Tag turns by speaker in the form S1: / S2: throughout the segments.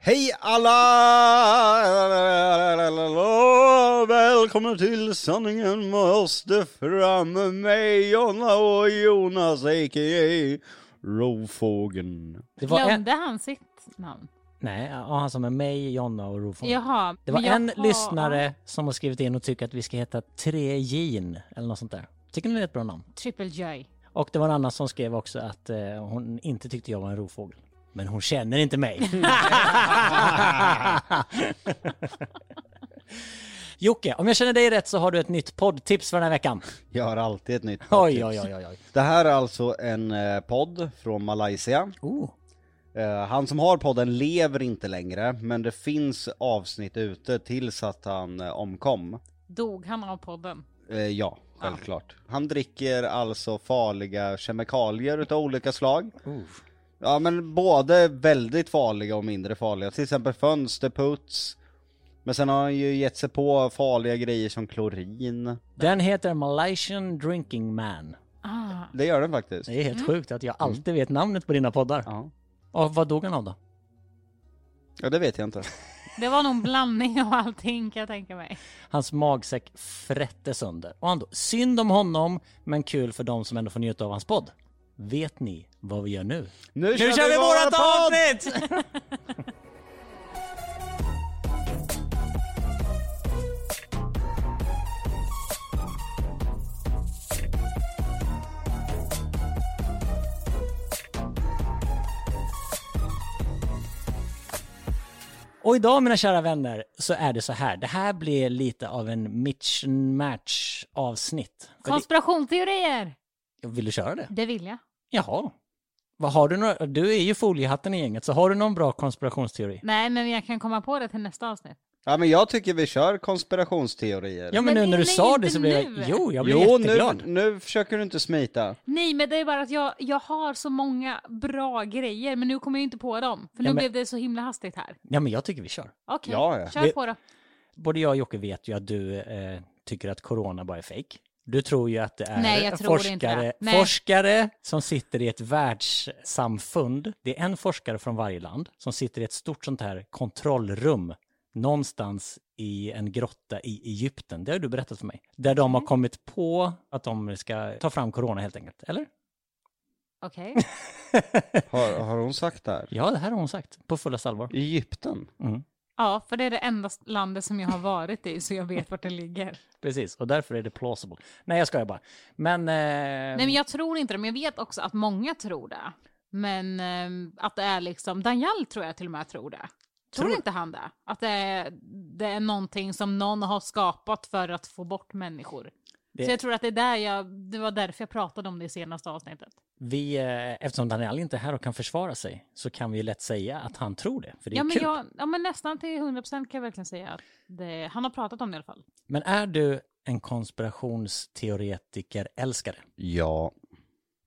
S1: Hej alla! Välkommen till sanningen måste fram med mig, Jonna och Jonas, a.k.a. Rovfågeln.
S2: Det var en,
S3: Glömde han sitt namn?
S2: nej, ja, han som är mig, Jonna och Rofon.
S3: Jaha.
S2: det var
S3: men jag
S2: en
S3: har-
S2: lyssnare som har skrivit in och tycker att vi ska heta Tre Jean eller något sånt där. Tycker ni det är ett bra namn?
S3: Triple J.
S2: Och det var en annan som skrev också att eh, hon inte tyckte jag var en rovfågel. Men hon känner inte mig. Jocke, om jag känner dig rätt så har du ett nytt poddtips för den här veckan.
S1: Jag har alltid ett nytt
S2: Oj, oj, oj, oj. oj.
S1: Det här är alltså en eh, podd från Malaysia.
S2: Oh.
S1: Eh, Han som har podden lever inte längre, men det finns avsnitt ute tills att han eh, omkom.
S3: Dog han av podden?
S1: Eh, Ja,
S2: Ah.
S1: självklart. Han dricker alltså farliga kemikalier utav olika slag. Ja men både väldigt farliga och mindre farliga, till exempel fönsterputs. Men sen har han ju gett sig på farliga grejer som klorin.
S2: Den heter Malaysian Drinking Man.
S3: Ah,
S1: Det gör den faktiskt.
S2: Det är
S3: Mm.
S2: helt sjukt att jag alltid vet namnet på dina poddar.
S1: Ja.
S2: Och vad dog han av då?
S1: ja, det vet jag inte.
S3: det var nog en blandning av allting kan jag tänka mig.
S2: Hans magsäck frätte sönder. Och han då, synd om honom, men kul för de som ändå får njuta av hans podd. Vet ni vad vi gör nu?
S1: Nu,
S2: Nu kör vi vårat avsnitt! Och idag mina kära vänner så är det så här. Det här blir lite av en Mitch match avsnitt. För det,
S3: Konspirationsteorier!
S2: vill du köra det?
S3: Det vill jag.
S2: Jaha. Vad har du några, du är ju foliehatten i gänget, så har du någon bra konspirationsteori?
S3: Nej, men jag kan komma på det till nästa avsnitt.
S1: Ja men jag tycker vi kör konspirationsteorier.
S2: Ja men,
S3: Men
S2: nu när du
S3: nej,
S2: sa det
S3: inte
S2: så blev jag,
S3: nu.
S2: jo jag blev
S1: jo nu,
S2: jätteglad.
S1: nu försöker du inte smita.
S3: Nej, men det är bara att jag, jag har så många bra grejer, men nu kommer jag inte på dem. För nu
S2: Ja, men-
S3: blev det så himla hastigt här.
S2: Ja men jag tycker vi kör.
S3: Okej,
S1: Ja, ja.
S3: kör
S2: Vi-
S3: på då.
S2: Både jag och Jocke vet ju att du eh, tycker att corona bara är fake. Du tror ju att det är
S3: Nej, jag tror inte det.
S2: forskare,
S3: Nej.
S2: forskare som sitter i ett världssamfund. Det är en forskare från varje land som sitter i ett stort sånt här kontrollrum någonstans i en grotta i Egypten. Det har du berättat för mig. Där de
S3: Mm.
S2: har kommit på att de ska ta fram corona helt enkelt, eller?
S3: Okej.
S1: Har, har hon sagt det här?
S2: Ja, det här har hon sagt på fulla allvar.
S1: Egypten?
S3: Ja, för det är det enda landet som jag har varit i, så jag vet vart det ligger.
S2: Precis, och därför är det plausible. Nej, jag skojar bara. Men... Eh,
S3: Nej men jag tror inte det, men jag vet också att många tror det. Men ehm, att det är liksom, Daniel tror jag till och med tror det. Tror,
S2: Tror-
S3: inte han det? Att det är, det är någonting som någon har skapat för att få bort människor.
S2: Det-
S3: Så jag tror att det, är där jag, det var därför jag pratade om det i senaste avsnittet.
S2: Vi, eh, eftersom Daniel inte är här och kan försvara sig så kan vi ju lätt säga att han tror det, för det är
S3: Ja men,
S2: kul.
S3: jag, ja men nästan till 100% kan jag verkligen säga att det, han har pratat om det i alla fall.
S2: Men är du en konspirationsteoretiker-älskare?
S1: Ja.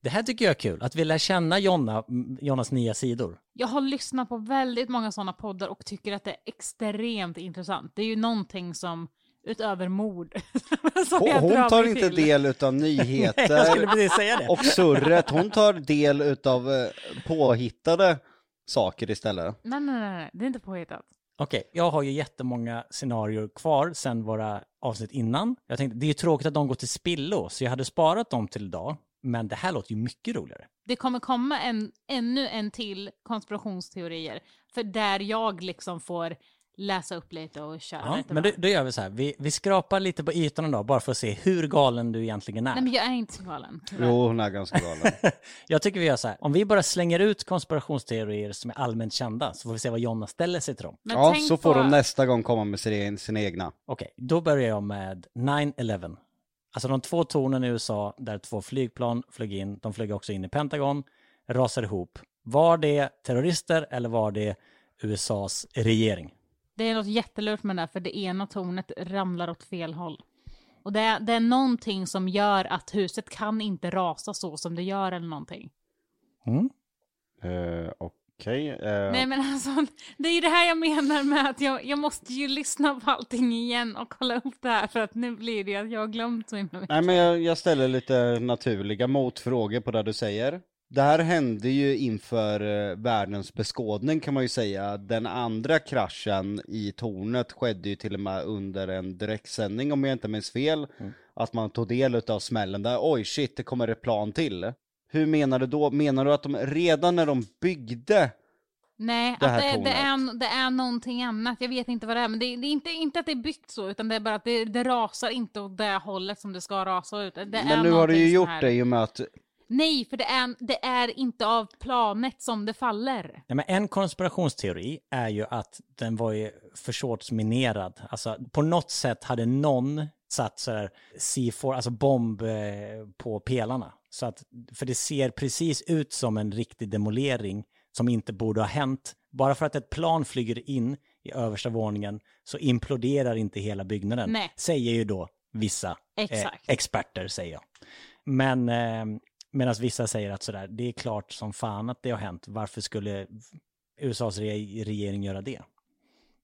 S2: Det här tycker jag är kul, att vi lär känna Jonna, m, Jonnas nya sidor.
S3: Jag har lyssnat på väldigt många sådana poddar och tycker att det är extremt intressant. Det är ju någonting som, utöver mord, som
S1: Hon,
S3: jag
S1: hon
S3: drar
S1: tar
S3: mig
S1: inte
S3: till.
S1: del utav
S2: Jag
S1: nyheter
S2: skulle precis säga det.
S1: och surret, hon tar del utav eh, påhittade saker istället.
S3: Nej, nej, nej, nej, det är inte påhittat.
S2: Okej, jag har ju jättemånga scenarier kvar sen våra avsnitt innan. Jag tänkte, det är ju tråkigt att de går till spillo, så jag hade sparat dem till idag. Men det här låter ju mycket roligare.
S3: Det kommer komma en, ännu en till konspirationsteorier, för där jag liksom får läsa upp lite och köra
S2: Ja,
S3: lite
S2: men
S3: med.
S2: då, då gör vi så här, vi, vi skrapar lite på ytan idag, bara för att se hur galen du egentligen är.
S3: Nej, men jag är inte så galen. tyvärr.
S1: Jo, hon är ganska galen.
S2: Jag tycker vi gör så här, om vi bara slänger ut konspirationsteorier som är allmänt kända så får vi se vad Jonna ställer sig till dem.
S3: Men
S1: Ja,
S3: tänk
S1: så får
S3: på-
S1: hon nästa gång komma med sina, egen- sina egna.
S2: Okej, då börjar jag med 9-11. Alltså de två tornen i USA där två flygplan flög in, de flög också in i Pentagon, rasar ihop. Var det terrorister eller var det USAs regering?
S3: Det är något jättelurt med det där, för det ena tornet ramlar åt fel håll. Och det är, det är någonting som gör att huset kan inte rasa så som det gör eller någonting.
S2: Mm.
S1: Uh, Okej. eh,
S3: Nej men alltså, det är ju det här jag menar med att jag, jag måste ju lyssna på allting igen och kolla upp det här för att nu blir det ju att jag har glömt så himla mycket.
S1: Nej men jag, jag ställer lite naturliga motfrågor på det du säger. Det här hände ju inför eh, världens beskådning kan man ju säga. Den andra kraschen i tornet skedde ju till och med under en direktsändning om jag inte minns fel. Att man tog del av smällen där, oj shit det kommer ett plan till. Hur menar du då? Menar du att de redan när de byggde
S3: Nej,
S1: Det
S3: det,
S1: här
S3: att det, det,
S1: tornet.
S3: är, det är någonting annat. Jag vet inte vad det är, men det, det är inte, inte att det är byggt så, utan det är bara att det, det rasar inte åt det hållet som det ska rasa ut. Det
S1: Men nu har du ju gjort det
S3: det.
S1: i och med att
S3: Nej, för det är, det är inte av planet som det faller.
S2: Ja, men en konspirationsteori är ju att den var ju försåtsminerad. Alltså på något sätt hade någon satt sådär C4, alltså bomb eh, på pelarna. Så att, för det ser precis ut som en riktig demolering som inte borde ha hänt. Bara för att ett plan flyger in i översta våningen så imploderar inte hela byggnaden.
S3: Nej.
S2: Säger ju då vissa eh,
S3: Exakt.
S2: experter, säger jag. Men eh, medan vissa säger att sådär, det är klart som fan att det har hänt. Varför skulle USAs re- regering göra det?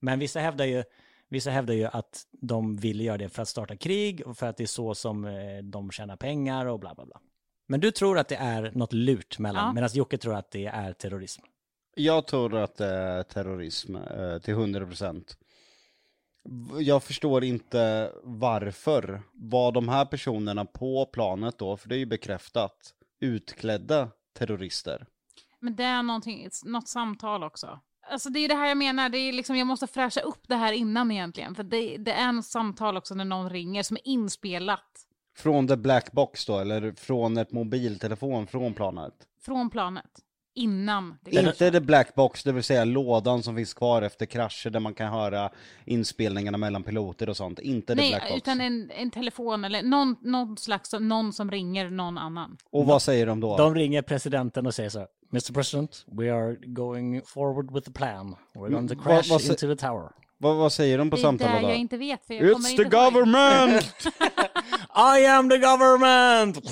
S2: Men vissa hävdar ju, vissa hävdar ju att de ville göra det för att starta krig och för att det är så som eh, de tjänar pengar och bla bla bla. Men du tror att det är något lurt mellan,
S3: Ja.
S2: medan Jocke tror att det är terrorism.
S1: Jag tror att det är terrorism eh, till 100 procent. Jag förstår inte varför. Var de här personerna på planet då, för det är ju bekräftat, utklädda terrorister?
S3: Men det är någonting, något samtal också. Alltså det är ju det här jag menar, det är liksom, jag måste fräscha upp det här innan egentligen. För det, det är något samtal också när någon ringer som är inspelat
S1: Från the black box då, eller från ett mobiltelefon från planet?
S3: från planet. Innan. det kraschar.
S1: Inte the black box, det vill säga lådan som finns kvar efter krascher där man kan höra inspelningarna mellan piloter och sånt. Inte the black
S3: Nej,
S1: box.
S3: utan en, en telefon eller någon, någon slags, någon som ringer någon annan.
S1: Och vad säger de då?
S2: De ringer presidenten och säger så här, Mr President, we are going forward with the plan. We're going to
S1: Mm, vad-
S2: crash
S1: vad sä-
S2: into the tower.
S1: Vad, vad säger de på
S3: Det är där
S1: samtalet då?
S3: jag inte vet för jag kommer
S1: It's
S3: inte
S1: the
S3: ihåg.
S1: government!
S2: I am the government!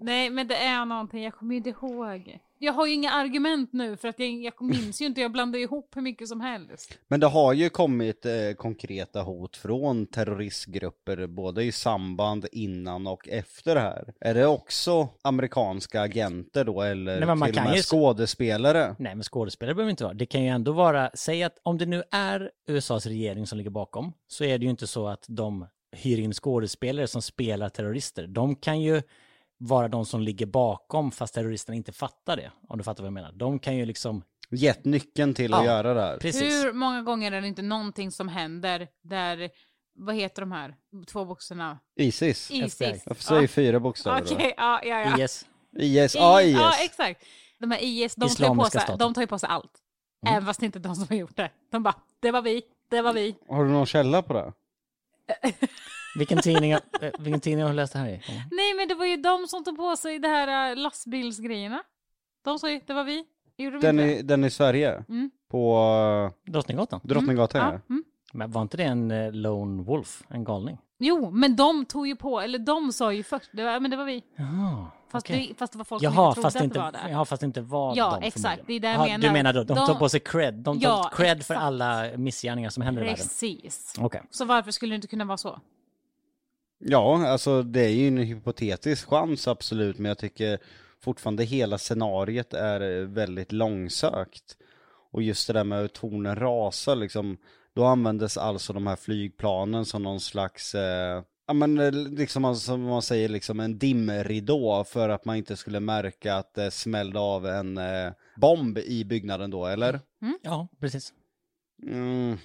S3: Nej, men det är någonting, jag kommer inte ihåg. Jag har ju inga argument nu för att jag, jag minns ju inte, jag blandar ihop hur mycket som helst.
S1: Men det har ju kommit eh, konkreta hot från terroristgrupper både i samband innan och efter det här. Är det också amerikanska agenter då eller
S2: Nej, men man
S1: till och
S2: kan
S1: med
S2: ju-
S1: skådespelare?
S2: Nej, men skådespelare behöver inte vara. Det kan ju ändå vara, säg att om det nu är USAs regering som ligger bakom, så är det ju inte så att de hyr in skådespelare som spelar terrorister. De kan ju vara de som ligger bakom fast terroristerna inte fattar det, om du fattar vad jag menar. De kan ju liksom,
S1: Gett nyckeln till att
S2: Ja,
S1: göra det här.
S2: precis.
S3: Hur många gånger är det inte någonting som händer där, vad heter de här två boxarna?
S1: Isis.
S2: FBI.
S3: Isis.
S1: Varför säger
S3: Ja.
S1: fyra bokstäver
S3: Okej, ja, ja, ja.
S2: IS.
S1: IS. Ja,
S3: I-
S1: IS.
S3: Ja, exakt. De här IS, de tar, ju på
S2: Islamiska
S3: sig,
S2: staten.
S3: de tar ju på sig allt.
S1: Mm.
S3: Även fast det inte är de som har gjort det. De bara, det var vi, det var vi.
S1: Har du någon källa på det?
S2: Vilken tidning, eh, vilken tidning har du läst det här i?
S3: Nej, men det var ju de som tog på sig det här äh, lastbilsgrejerna. De sa ju, det var vi. Gjorde de
S1: Den
S3: inte det?
S1: i, den i Sverige?
S3: Mm.
S1: På eh,
S2: Drottninggatan?
S1: Drottninggatan? ja.
S3: Ja, mm.
S2: Men var inte det en eh, lone wolf, en galning?
S3: Jo, men de tog ju på, eller de sa ju först, det var, men det var vi.
S2: Jaha,
S3: Fast,
S2: okej.
S3: det, fast det var folk
S2: Jaha,
S3: som inte
S2: fast
S3: trodde
S2: inte,
S3: att det var där.
S2: jaha, fast inte var
S3: Ja,
S2: de
S3: exakt,
S2: förmodligen.
S3: det är det jag
S2: Jaha, Du
S3: menar.
S2: menar då, de,
S3: De-
S2: tar på sig cred. De tar
S3: Ja,
S2: cred för
S3: exakt.
S2: alla missgärningar som händer i världen.
S3: Precis.
S2: Okej.
S3: Så varför skulle det inte kunna vara så?
S1: Ja, alltså det är ju en hypotetisk chans absolut, men jag tycker fortfarande hela scenariet är eh, väldigt långsökt. Och just det där med hur tornen rasar liksom, då användes alltså de här flygplanen som någon slags, eh, ja men eh, liksom man- som man säger liksom en dimridå för att man inte skulle märka att det smällde av en eh, bomb i byggnaden då, eller?
S2: Ja, precis.
S1: Mm.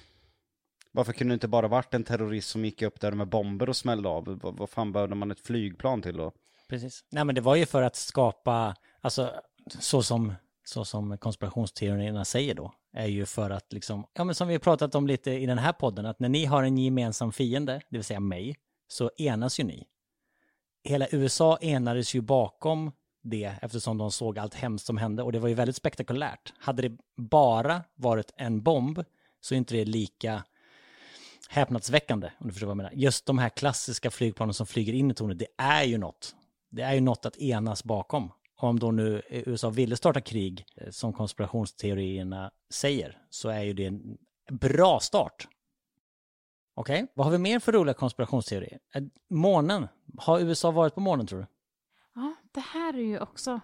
S1: Varför kunde det inte bara varit en terrorist som gick upp där med bomber och smällde av? Vad, vad fan behövde man ett flygplan till då?
S2: precis. Nej, men det var ju för att skapa, alltså så som, så som konspirationsteorierna säger då, är ju för att liksom, ja men som vi har pratat om lite i den här podden, att när ni har en gemensam fiende, det vill säga mig, så enas ju ni. Hela USA enades ju bakom det eftersom de såg allt hemskt som hände och det var ju väldigt spektakulärt. Hade det bara varit en bomb så är inte det lika häpnadsväckande, om du förstår vad jag menar. Just de här klassiska flygplanen som flyger in i tornet, det är ju något. Det är ju något att enas bakom. Om då nu eh, USA ville starta krig, eh, som konspirationsteorierna säger, så är ju det en bra start. Okej, vad har vi mer för roliga konspirationsteorier? Eh, Månen, har USA varit på månen tror du?
S3: Ja, det här är ju också...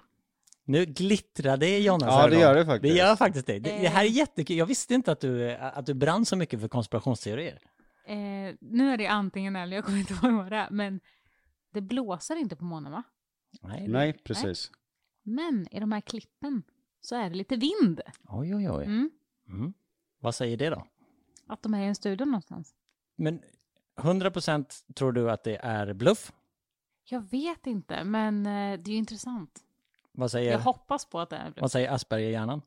S2: Nu glittrar det i Jonas
S1: Ja, det
S2: ögon.
S1: gör Alltså, det faktiskt.
S2: Det gör faktiskt det. Det, det här är
S3: Eh.
S2: jättekul. Jag visste inte att du, eh, att du brann så mycket för konspirationsteorier.
S3: Eh, nu är det antingen eller, jag kommer inte ihåg vad det är. Men det blåser inte på månen va?
S2: Nej.
S1: Nej, precis.
S3: Men i de här klippen så är det lite vind.
S2: Oj, oj, oj.
S3: Mm.
S2: Mm. Vad säger det då?
S3: Att de är i en studio någonstans.
S2: Men 100% tror du att det är bluff?
S3: Jag vet inte, men eh, det är ju intressant.
S2: Vad
S3: Jag
S2: säger,
S3: hoppas på att det är
S2: vad
S3: bluff.
S2: säger Asperger-hjärnan?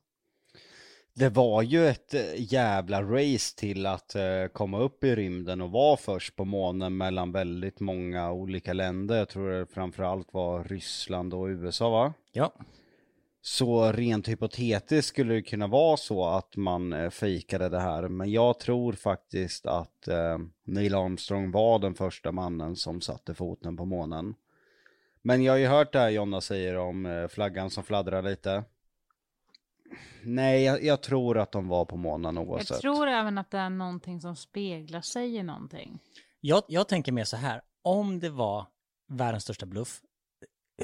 S1: Det var ju ett eh, jävla race till att eh, komma upp i rymden och vara först på månen mellan väldigt många olika länder. Jag tror det framförallt var Ryssland och USA va?
S2: Ja.
S1: Så rent hypotetiskt skulle det kunna vara så att man eh, fejkade det här. Men jag tror faktiskt att eh, Neil Armstrong var den första mannen som satte foten på månen. Men jag har ju hört det här Jonna säger om eh, flaggan som fladdrar lite. Nej, jag, jag tror att de var på månen
S3: Jag
S1: oavsett.
S3: tror även att det är någonting som speglar sig i någonting.
S2: Jag, jag tänker mer så här, om det var världens största bluff,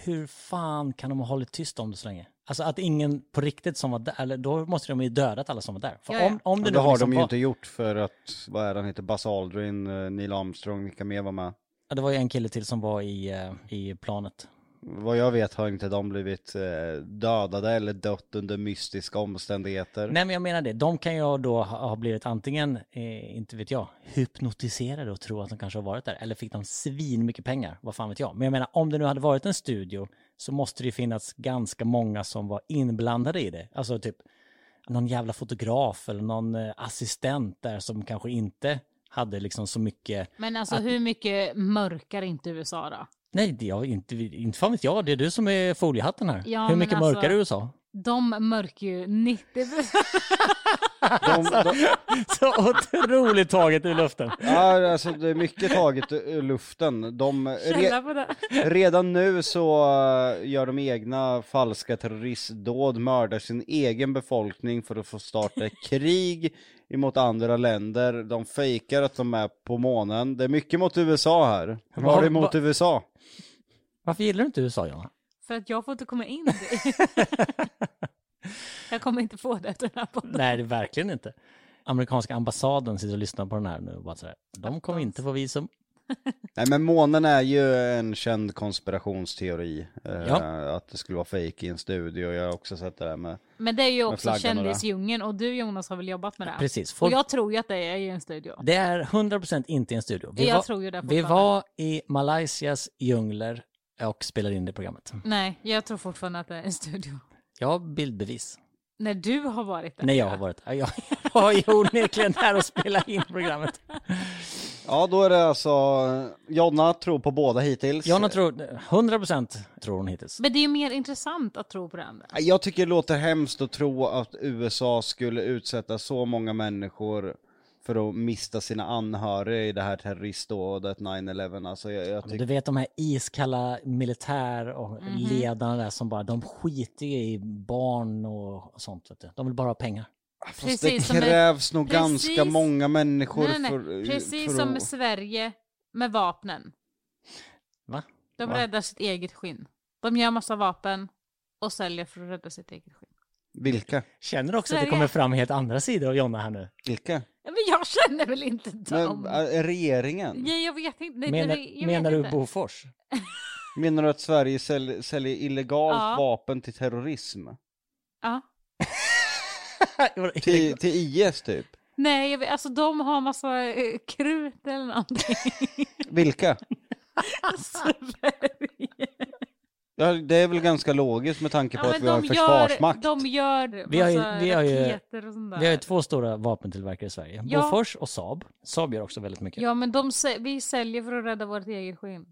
S2: hur fan kan de ha hållit tyst om det så länge? Alltså att ingen på riktigt som var där, eller då måste de ju dödat alla som var där. För
S3: Ja, ja.
S2: om, om
S1: Men
S2: det
S1: det,
S2: nu
S1: har
S2: liksom
S1: de ju
S2: var,
S1: inte gjort för att, vad är han heter, Buzz Aldrin, eh, Neil Armstrong, vilka mer var med?
S2: Ja, Det var ju en kille till som var i, eh, i planet.
S1: Vad jag vet har inte de blivit eh, dödade eller dött under mystiska omständigheter.
S2: Nej men jag menar det, de kan ju då ha ha blivit antingen, eh, inte vet jag, hypnotiserade och tro att de kanske har varit där. Eller fick de svin mycket pengar, vad fan vet jag. Men jag menar om det nu hade varit en studio så måste det ju finnas ganska många som var inblandade i det. Alltså typ någon jävla fotograf eller någon eh, assistent där som kanske inte hade liksom så mycket,
S3: Men alltså hur mycket mörkar inte USA då?
S2: nej det jag inte, inte fan vet jag, det är du som är foliehatten här.
S3: Ja,
S2: Hur
S3: men
S2: mycket
S3: alltså-
S2: mörkare USA?
S3: De mörker ju 90
S1: De, de,
S2: Så otroligt taget ur luften.
S1: ja, alltså det är mycket taget ur luften. De, re,
S3: Källa på det.
S1: redan nu så eh, gör de egna falska terroristdåd, mördar sin egen befolkning för att få starta krig emot andra länder. De fejkar att de är på månen. Det är mycket mot USA här. Vad har du emot
S2: Vad-
S1: USA?
S2: Varför gillar du inte USA Jonna?
S3: För att jag får inte komma in dit. jag kommer inte få det efter den här podden.
S2: Nej, det är verkligen inte. Amerikanska ambassaden sitter och lyssnar på den här nu. och Bara så här. De kommer inte få visum.
S1: Nej men månen är ju en känd konspirationsteori. Eh,
S2: Ja.
S1: Att det skulle vara fejk i en studio. Jag har också sett det där med
S3: Men det är ju också
S1: flaggan och
S3: kändisdjungeln och du Jonas har väl jobbat med det?
S2: Precis.
S3: Och
S2: Folk, Mm.
S3: jag tror ju att det är i en studio.
S2: Det är 100% inte i en studio.
S3: jag
S2: var,
S3: tror ju det
S2: vi
S3: fortfarande.
S2: var i Malaysias djungler och spelade in det programmet.
S3: Nej, jag tror fortfarande att det är en studio.
S2: Jag har bildbevis.
S3: När du har varit där.
S2: Nej, jag har varit Jag var onekligen där och spelade in programmet.
S1: Ja då är det alltså, Jonna tror på båda hittills.
S2: Jonna tror, 100% tror hon hittills.
S3: Men det är ju mer intressant att tro på det andra.
S1: Jag tycker det låter hemskt att tro att USA skulle utsätta så många människor för att mista sina anhöriga i det här terroristdådet 9-11. Alltså jag, jag
S2: Men Du
S1: tycker...
S2: vet de här iskalla militär och
S3: Mhm.
S2: ledarna där som bara, de skiter ju i barn och sånt. Vet du. De vill bara ha pengar.
S1: Fast
S3: precis som
S1: det
S3: med-
S1: krävs nog
S3: precis-
S1: ganska många människor
S3: Nej, nej,
S1: för,
S3: nej. Precis
S1: för
S3: som med
S1: att...
S3: Sverige med vapnen.
S2: Va?
S3: De
S2: Va?
S3: räddar sitt eget skinn. De gör massa vapen och säljer för att rädda sitt eget skinn.
S1: Vilka?
S2: Känner också att det
S3: Sverige.
S2: kommer fram helt andra sidor av Jonna här nu.
S1: Vilka?
S3: Ja, Men jag känner väl inte dem?
S1: Men, äh, regeringen?
S3: Ja, jag vet inte. Nej,
S2: Menar,
S3: det- jag
S2: menar
S3: vet
S2: du
S3: inte.
S2: Bofors?
S1: Menar du att Sverige sälj, säljer illegalt
S3: Ja.
S1: vapen till terrorism?
S3: Ja.
S1: Till, till IS typ?
S3: Nej, jag vet, alltså de har massa eh, krut eller någonting. Alltså,
S1: Vilka?
S3: Sverige.
S1: Ja, det är väl ganska logiskt med tanke på
S3: Ja,
S1: att
S3: men
S1: vi har en
S3: de gör,
S1: försvarsmakt.
S3: de gör massa
S2: Vi har ju- vi har ju-
S3: raketer och sånt där.
S2: Vi har ju två stora vapentillverkare i Sverige.
S3: Ja.
S2: Bofors och Saab. Saab gör också väldigt mycket.
S3: Ja, men de, sä- vi säljer för att rädda vårt eget skinn.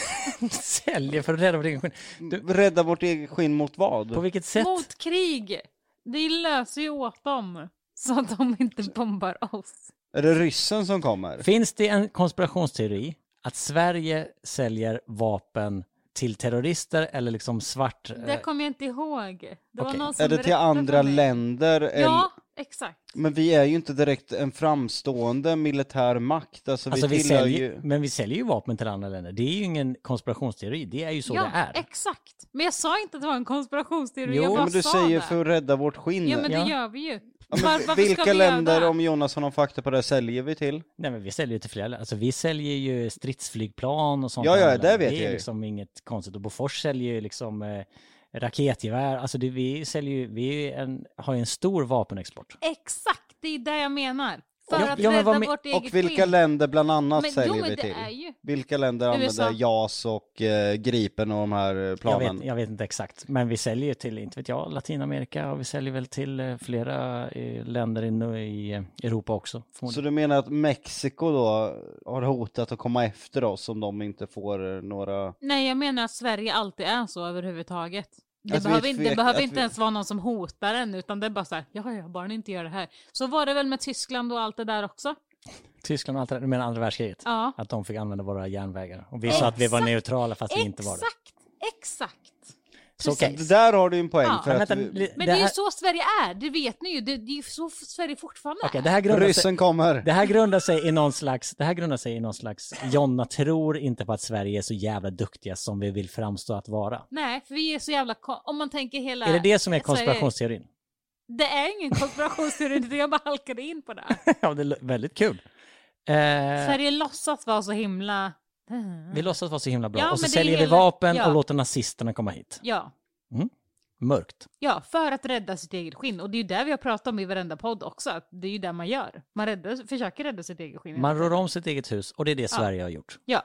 S2: Säljer för att rädda vårt eget skinn. Du-
S1: Rädda vårt eget skinn mot vad?
S2: På vilket sätt?
S3: Mot krig! Det löser ju åt dem. Så att de inte bombar oss.
S1: Är det ryssen som kommer?
S2: Finns det en konspirationsteori att Sverige säljer vapen till terrorister eller liksom svart... eh,
S3: Det kommer jag inte ihåg. Det var
S2: Okej.
S3: någon som
S1: Är det till
S3: berättade för
S1: andra
S3: mig.
S1: länder? eller-
S3: Ja, Exakt.
S1: Men vi är ju inte direkt en framstående militär makt. Alltså,
S2: Alltså,
S1: vi
S2: vi
S1: tillhör
S2: säljer,
S1: ju...
S2: Men vi säljer ju vapen till andra länder. Det är ju ingen konspirationsteori. Det är ju så
S3: ja, eh.
S2: det är.
S3: exakt. Men jag sa inte att det var en konspirationsteori,
S2: Jo,
S3: jag
S1: Ja,
S3: bara
S1: men du
S3: sa
S1: säger
S3: det.
S1: för att rädda vårt skinn.
S3: Ja men det
S2: Ja.
S3: gör vi ju.
S1: Ja, men
S3: Var- varför ska
S1: vilka
S3: vi göra
S1: länder,
S3: det?
S1: om Jonasson har fakta på det, här, säljer vi till?
S2: Nej, men vi säljer ju till flera länder. Alltså, vi säljer ju stridsflygplan och sånt.
S1: Ja,
S2: till
S1: ja,
S2: andra
S1: det
S2: länder.
S1: vet
S2: Det
S1: jag
S2: är
S1: ju.
S2: liksom inget konstigt. Och Bofors säljer ju liksom eh, raketgevär. Alltså, det, vi säljer ju, vi är ju en, har ju en stor vapenexport.
S3: Exakt, det är det jag menar. För
S2: Ja,
S3: att
S2: ja, men
S3: rädda
S2: vad men-
S3: vårt eget
S1: Och vilka
S3: skinn.
S1: länder bland annat
S3: men,
S1: säljer
S3: jo, men
S1: vi
S3: det
S1: till?
S3: är ju.
S1: Vilka länder
S3: USA.
S1: använder JAS och eh, Gripen och de här eh,
S2: Jag
S1: planen?
S2: vet, jag vet inte exakt, men vi säljer ju till, inte vet jag, Latinamerika och vi säljer väl till eh, flera eh, länder i, nu- i eh, Europa också.
S1: Så
S2: förmodligen.
S1: du menar att Mexiko då har hotat att komma efter oss om de inte får eh, några...
S3: Nej jag menar att Sverige alltid är så överhuvudtaget. Det
S1: Att vi
S2: Alltså,
S3: behöver, inte, det
S1: tvek-
S3: behöver
S1: att
S3: inte
S1: vi-
S3: ens vara någon som hotar en utan det är bara så här, ja ja, bara ni inte gör det här. Så var det väl med Tyskland och allt det där också?
S2: Tyskland och allt det där, du menar andra världskriget?
S3: Ja.
S2: Att de fick använda våra järnvägar. Och vi sa att vi var
S3: Exakt,
S2: neutrala fast vi inte var det.
S3: Exakt, exakt.
S2: Så okej.
S1: Det där har du ju en poäng
S3: Ja.
S1: för
S2: Men
S1: att
S2: vänta,
S1: vi...
S2: li-
S3: Men
S2: det
S3: det är ju
S2: här-
S3: så Sverige är, det vet ni ju. Det, det är ju så Sverige fortfarande
S2: Okej,
S3: är.
S2: det här grundar sig...
S1: ryssen kommer!
S2: Det här grundar sig i någon slags, det här grundar sig i någon slags, Jonna tror inte på att Sverige är så jävla duktiga som vi vill framstå att vara.
S3: Nej, för vi är så jävla... ko- Om man tänker hela...
S2: Är det det som är
S3: Sverige-
S2: konspirationsteorin?
S3: Det är ingen konspirationsteori, utan jag bara halkade in på det.
S2: ja, det är väldigt kul. Eh,
S3: Sverige låtsas vara så himla...
S2: vi låtsas vara så himla bra
S3: Ja,
S2: och så
S3: men det är
S2: säljer vi
S3: hela-
S2: vapen
S3: ja.
S2: och låter nazisterna komma hit.
S3: Ja,
S2: Mörkt.
S3: ja, för att rädda sitt eget skinn. Och det är ju det vi har pratat om i varenda podd också. Att det är ju det man gör. Man räddar, försöker rädda sitt eget skinn.
S2: Man rör om sitt eget hus och det är det Sverige har gjort.
S3: Ja.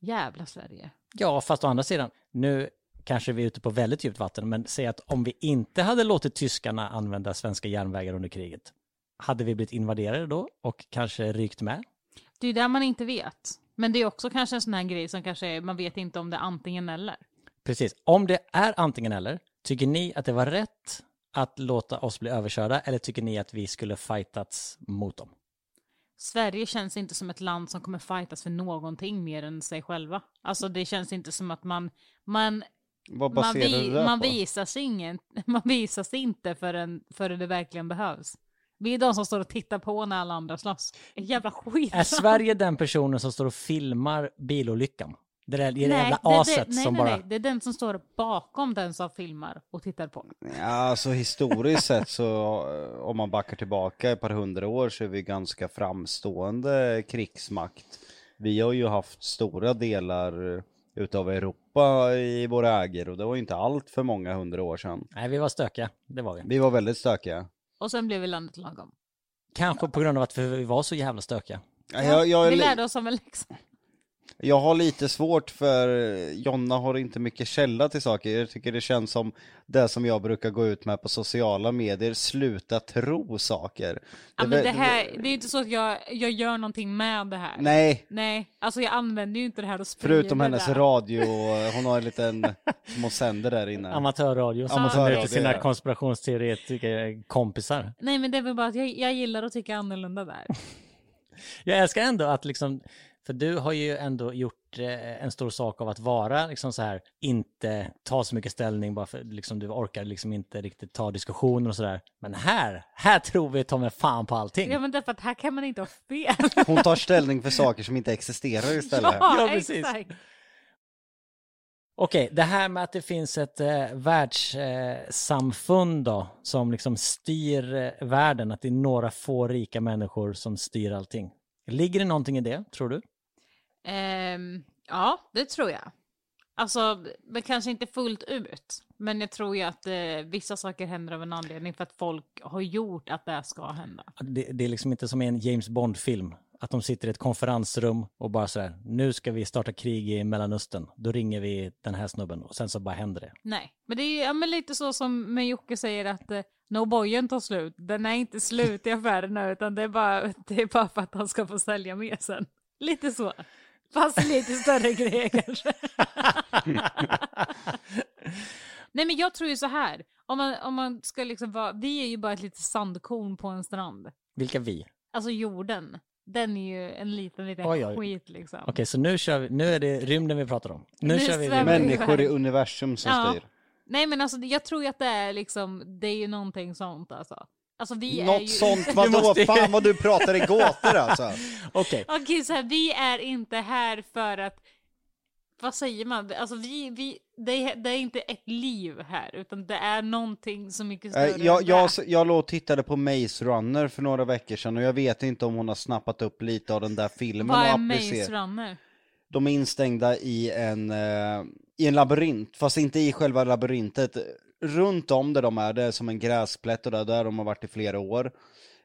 S3: Jävla Sverige.
S2: Ja, fast å andra sidan, nu kanske vi är ute på väldigt djupt vatten, men säg att om vi inte hade låtit tyskarna använda svenska järnvägar under kriget, hade vi blivit invaderade då och kanske rykt med?
S3: Det är ju det man inte vet. Men det är också kanske en sån här grej som kanske är, man vet inte om det är antingen eller.
S2: Precis. Om det är antingen eller, tycker ni att det var rätt att låta oss bli överkörda eller tycker ni att vi skulle fightats mot dem?
S3: Sverige känns inte som ett land som kommer fightas för någonting mer än sig själva. Alltså det känns inte som att man, man
S1: Vad
S3: man,
S1: baserar du
S3: vi,
S1: det där
S3: man,
S1: på?
S3: visas ingen, man visas inte förrän, förrän det verkligen behövs. Vi är de som står och tittar på när alla andra slåss. En jävla skit.
S2: Är Sverige den personen som står och filmar bilolyckan? Det där det
S3: Nej,
S2: jävla
S3: det- det-
S2: aset
S3: nej,
S2: som
S3: nej,
S2: bara...
S3: nej, det är den som står bakom den som filmar och tittar på.
S1: Ja, alltså historiskt sett så eh, om man backar tillbaka ett par hundra år så är vi ganska framstående krigsmakt. Vi har ju haft stora delar eh, utav Europa i våra ägor och det var ju inte allt för många hundra år sedan.
S2: Nej, vi var stökiga. Det var vi.
S1: Vi var väldigt stökiga.
S3: Och sen blev vi landet lagom.
S2: Kanske på grund av att vi var så jävla stökiga.
S1: Ja, Jag, jag, är
S3: vi
S1: li-
S3: lärde oss som en läxa.
S1: jag har lite svårt för eh, Jonna har inte mycket källa till saker. Jag tycker det känns som det som jag brukar gå ut med på sociala medier, sluta tro saker.
S3: Ja,
S1: är
S3: men
S1: väl-
S3: det, här, det är ju inte så att jag, jag gör någonting med det här.
S1: Nej,
S3: Nej, alltså jag använder ju inte det här och sprider
S1: Förutom hennes
S3: det.
S1: radio, hon har en liten små sänder där inne.
S2: Amatörradio som
S1: Amatörradio,
S2: möter sina
S1: ja.
S2: konspirationsteoretiker kompisar.
S3: Nej men det är väl bara att jag, jag gillar att tycka annorlunda där.
S2: Jag älskar ändå att liksom, för du har ju ändå gjort eh, en stor sak av att vara liksom så här, inte ta så mycket ställning bara för liksom du orkar liksom inte riktigt ta diskussioner och sådär. Men här, här tror vi ta mig fan på allting.
S3: Ja men därför att här kan man inte ha fel.
S1: Hon tar ställning för saker som inte existerar istället.
S2: Ja, precis. Okej, det här med att det finns ett eh, världssamfund eh, samfund då, som liksom styr eh, världen, att det är några få rika människor som styr allting. Ligger det någonting i det, tror du?
S3: Ehm, ja, det tror jag. Alltså, men kanske inte fullt ut. Men jag tror ju att eh, vissa saker händer av en anledning för att folk har gjort att det här ska hända.
S2: Det, det är liksom inte som i en James Bond-film, att de sitter i ett konferensrum och bara sådär, nu ska vi starta krig i Mellanöstern, då ringer vi den här snubben och sen så bara händer det.
S3: Nej, men det är ju, ja, men lite så som med Jocke säger att eh, no boyen tar slut. Den är inte slut i affärerna utan det är, bara, det är bara för att han ska få sälja mer sen. Lite så. Fast lite större grejer kanske. Nej men jag tror ju så här. Om man, om man ska liksom vara, vi är ju bara ett litet sandkorn på en strand.
S2: Vilka vi?
S3: Alltså jorden. Den är ju en liten, liten
S2: Oj, oj.
S3: skit liksom.
S2: Okej, så nu kör vi, nu är det rymden vi pratar om. Nu,
S3: Nu
S2: kör vi
S3: svävar
S2: rymden.
S1: Människor i universum som
S3: Ja.
S1: styr.
S3: Nej men alltså jag tror ju att det är liksom, det är ju någonting sånt alltså. Alltså vi är ju...
S1: Något sånt, vadå?
S2: Du måste ju-
S1: Fan vad du pratar i gåtor alltså.
S2: Okej,
S3: Okej, så här, vi är inte här för att... Vad säger man? Alltså vi, vi, det, är, det är inte ett liv här, utan det är någonting så mycket större.
S1: Eh, Jag,
S3: än
S1: jag,
S3: det.
S1: jag låg och tittade på Maze Runner för några veckor sedan och jag vet inte om hon har snappat upp lite av den där filmen
S3: Vad
S1: och
S3: är
S1: applicerat.
S3: Maze Runner?
S1: De är instängda i en, eh, i en labyrint, fast inte i själva labyrintet. Runt om där de är, det är som en gräsplätt och där, där de har varit i flera år.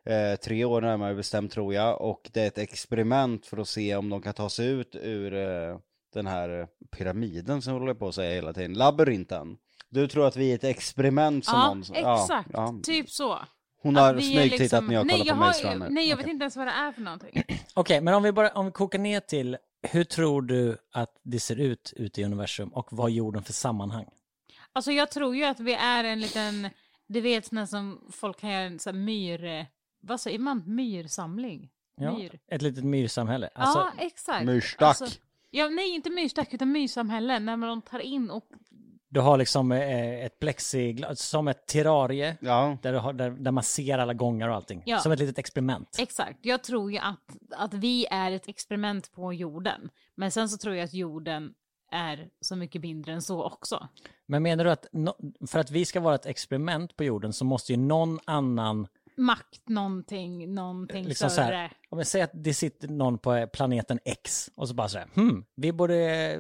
S1: Eh, tre år närmare bestämt tror jag. Och det är ett experiment för att se om de kan ta sig ut ur eh, den här pyramiden som jag håller på att säga hela tiden. Labyrinten. Du tror att vi är ett experiment som
S3: Ja,
S1: någon...
S3: exakt. Typ så.
S1: Hon
S3: Att
S1: har
S3: vi är
S1: smygtittat
S3: liksom-
S1: när jag kollar
S3: nej, jag
S1: på
S3: har
S1: Maze
S3: ju-
S1: Runner.
S3: Nej, jag vet
S1: Okej.
S3: inte ens vad det är för någonting.
S2: Okej, men om vi bara om vi kokar ner till hur tror du att det ser ut ute i universum och vad är jorden för sammanhang?
S3: Alltså jag tror ju att vi är en liten, du vet sån här som folk kan göra en sån här myr, vad säger man, myrsamling?
S2: Ja,
S3: Myr.
S2: ett litet myrsamhälle. Alltså,
S3: ja, exakt.
S1: Myrstack.
S3: Alltså, ja, nej, inte myrstack utan myrsamhälle, när man tar in och...
S2: Du har liksom eh, ett plexiglas, som ett terrarie,
S1: Ja.
S2: där, du har, där, där man ser alla gångar och allting.
S3: Ja.
S2: Som ett litet experiment.
S3: Exakt, jag tror ju att, att vi är ett experiment på jorden. Men sen så tror jag att jorden är så mycket mindre än så också.
S2: Men menar du att no- för att vi ska vara ett experiment på jorden så måste ju någon annan,
S3: Makt någonting, någonting
S2: liksom så
S3: större.
S2: här, om jag säger att det sitter någon på eh, planeten X och så bara så här, hmm, vi borde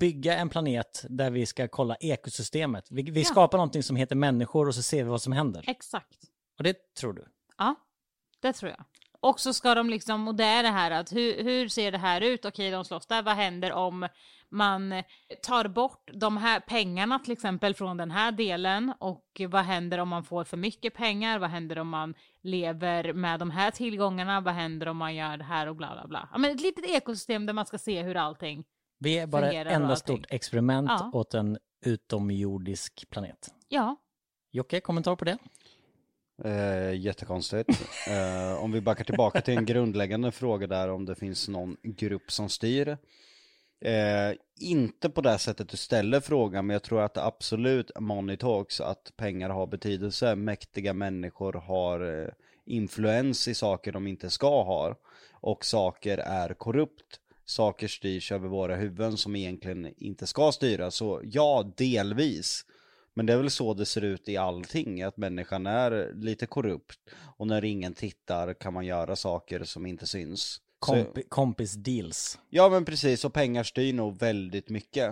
S2: bygga en planet där vi ska kolla ekosystemet. Vi, vi
S3: Ja.
S2: skapar någonting som heter människor och så ser vi vad som händer.
S3: Exakt.
S2: Och det tror du?
S3: Ja, det tror jag. Och så ska de liksom, och det är det här att hur, hur ser det här ut? Okej, de slåss där. Vad händer om man eh, tar bort de här pengarna till exempel från den här delen? Och vad händer om man får för mycket pengar? Vad händer om man lever med de här tillgångarna? Vad händer om man gör det här och bla bla bla? Ja, men ett litet ekosystem där man ska se hur allting.
S2: Vi är bara
S3: Fungerar
S2: ett
S3: och
S2: enda
S3: allting.
S2: stort experiment
S3: Ja.
S2: åt en utomjordisk planet.
S3: Ja,
S2: Jocke, kommentar på det?
S1: Eh, jättekonstigt. Eh, om vi backar tillbaka till en grundläggande fråga där om det finns någon grupp som styr. Eh, inte på det sättet du ställer frågan men jag tror att absolut money talks, att pengar har betydelse. Mäktiga människor har eh, influens i saker de inte ska ha. Och saker är korrupt. Saker styrs över våra huvuden som egentligen inte ska styras. Så ja, delvis. Men det är väl så det ser ut i allting, att människan är lite korrupt och när ingen tittar kan man göra saker som inte syns. Så,
S2: Komp- kompis deals.
S1: ja men precis, och pengar styr nog väldigt mycket.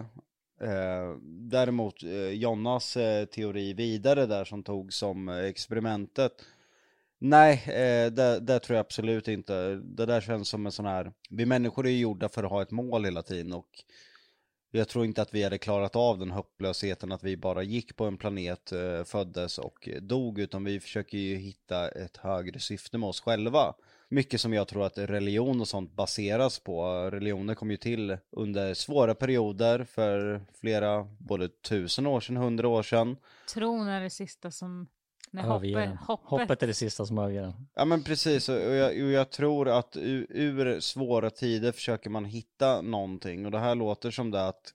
S1: Eh, däremot eh, Jonas eh, teori vidare där som tog som eh, experimentet. Nej, eh, det, det tror jag absolut inte. Det där känns som en sån här, vi människor är ju gjorda för att ha ett mål hela tiden och jag tror inte att vi hade klarat av den hopplösheten att vi bara gick på en planet, eh, föddes och dog, utan vi försöker ju hitta ett högre syfte med oss själva. Mycket som jag tror att religion och sånt baseras på. Religioner kom ju till under svåra perioder för flera, både tusen år sedan, hundra år sedan.
S3: tron är det sista som... Nej,
S2: Överger
S3: hoppet,
S2: den.
S3: hoppet.
S2: Hoppet är det sista som överger den.
S1: Ja men precis, och jag, och jag tror att ur, ur svåra tider försöker man hitta någonting och det här låter som det att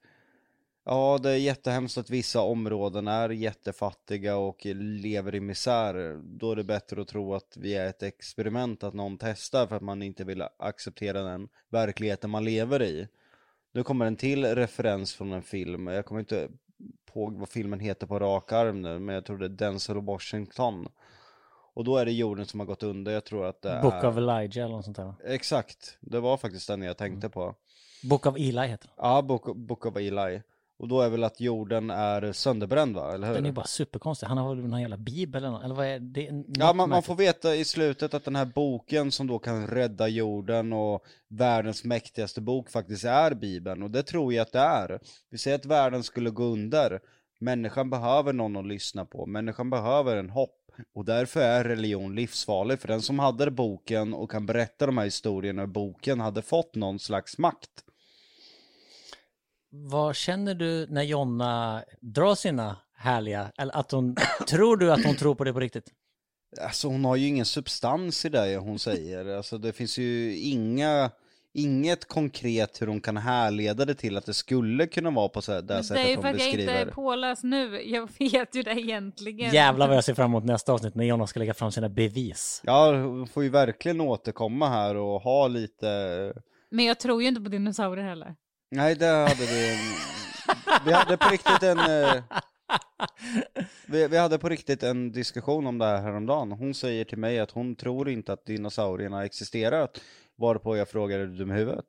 S1: Ja det är jättehemskt att vissa områden är jättefattiga och lever i misär. Då är det bättre att tro att vi är ett experiment, att någon testar för att man inte vill acceptera den verkligheten man lever i. Nu kommer en till referens från en film, jag kommer inte ihåg vad filmen heter på rak arm nu, men jag tror det är Denzel Washington. Och då är det jorden som har gått under, jag tror att det
S2: Book
S1: är...
S2: of Elijah eller något sånt där va?
S1: Exakt, det var faktiskt den jag
S2: Mm.
S1: tänkte på.
S2: Book of Eli heter den.
S1: Ja, Book, Book of Eli. Och då är väl att jorden är sönderbränd va, eller hur?
S2: Den är ju bara superkonstig. Han har väl någon jävla bibel eller något? Eller vad är det? Är något
S1: Ja, man, man
S2: märkligt.
S1: får veta i slutet att den här boken som då kan rädda jorden och världens mäktigaste bok faktiskt är Bibeln. Och det tror jag att det är. Vi säger att världen skulle gå under. Människan behöver någon att lyssna på. Människan behöver en hopp. Och därför är religion livsfarlig. För den som hade boken och kan berätta de här historierna i boken hade fått någon slags makt.
S2: Vad känner du när Jonna drar sina härliga, eller att hon, tror du att hon tror på det på riktigt?
S1: Alltså hon har ju ingen substans i det hon säger. Alltså det finns ju inga inget konkret hur de kan härleda det till att det skulle kunna vara på så- det här
S3: Men det är
S1: sättet
S3: ju för
S1: de
S3: att jag inte är
S1: beskriver.
S3: påläst nu. Jag vet ju det egentligen.
S2: Jävlar vad jag ser fram emot nästa avsnitt när Jonas ska lägga fram sina bevis.
S1: Ja, de får ju verkligen återkomma här och ha lite...
S3: Men jag tror ju inte på dinosaurier heller.
S1: Nej, det hade vi... Vi hade på riktigt en... eh, Vi, vi hade på riktigt en diskussion om det här häromdagen. Hon säger till mig att hon tror inte att dinosaurierna har existerat. Varpå jag frågar, är du dum i huvudet?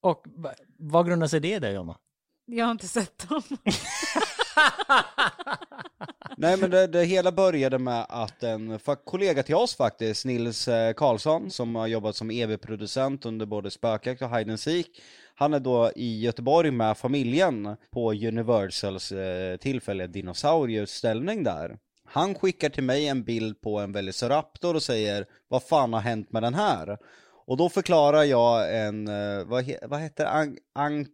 S2: Och va- vad grundar sig det i det, Jonna?
S3: Jag har inte sett dem.
S1: Nej men det, det hela började med att en fa- kollega till oss faktiskt, Nils eh, Karlsson, som har jobbat som EV-producent under både Spökjakt och Hide and Seek, han är då i Göteborg med familjen på Universals eh, tillfälliga dinosaurieutställning där. Han skickar till mig en bild på en Velociraptor och säger vad fan har hänt med den här? Och då förklarar jag en, eh, vad, he, vad heter det? An- ank...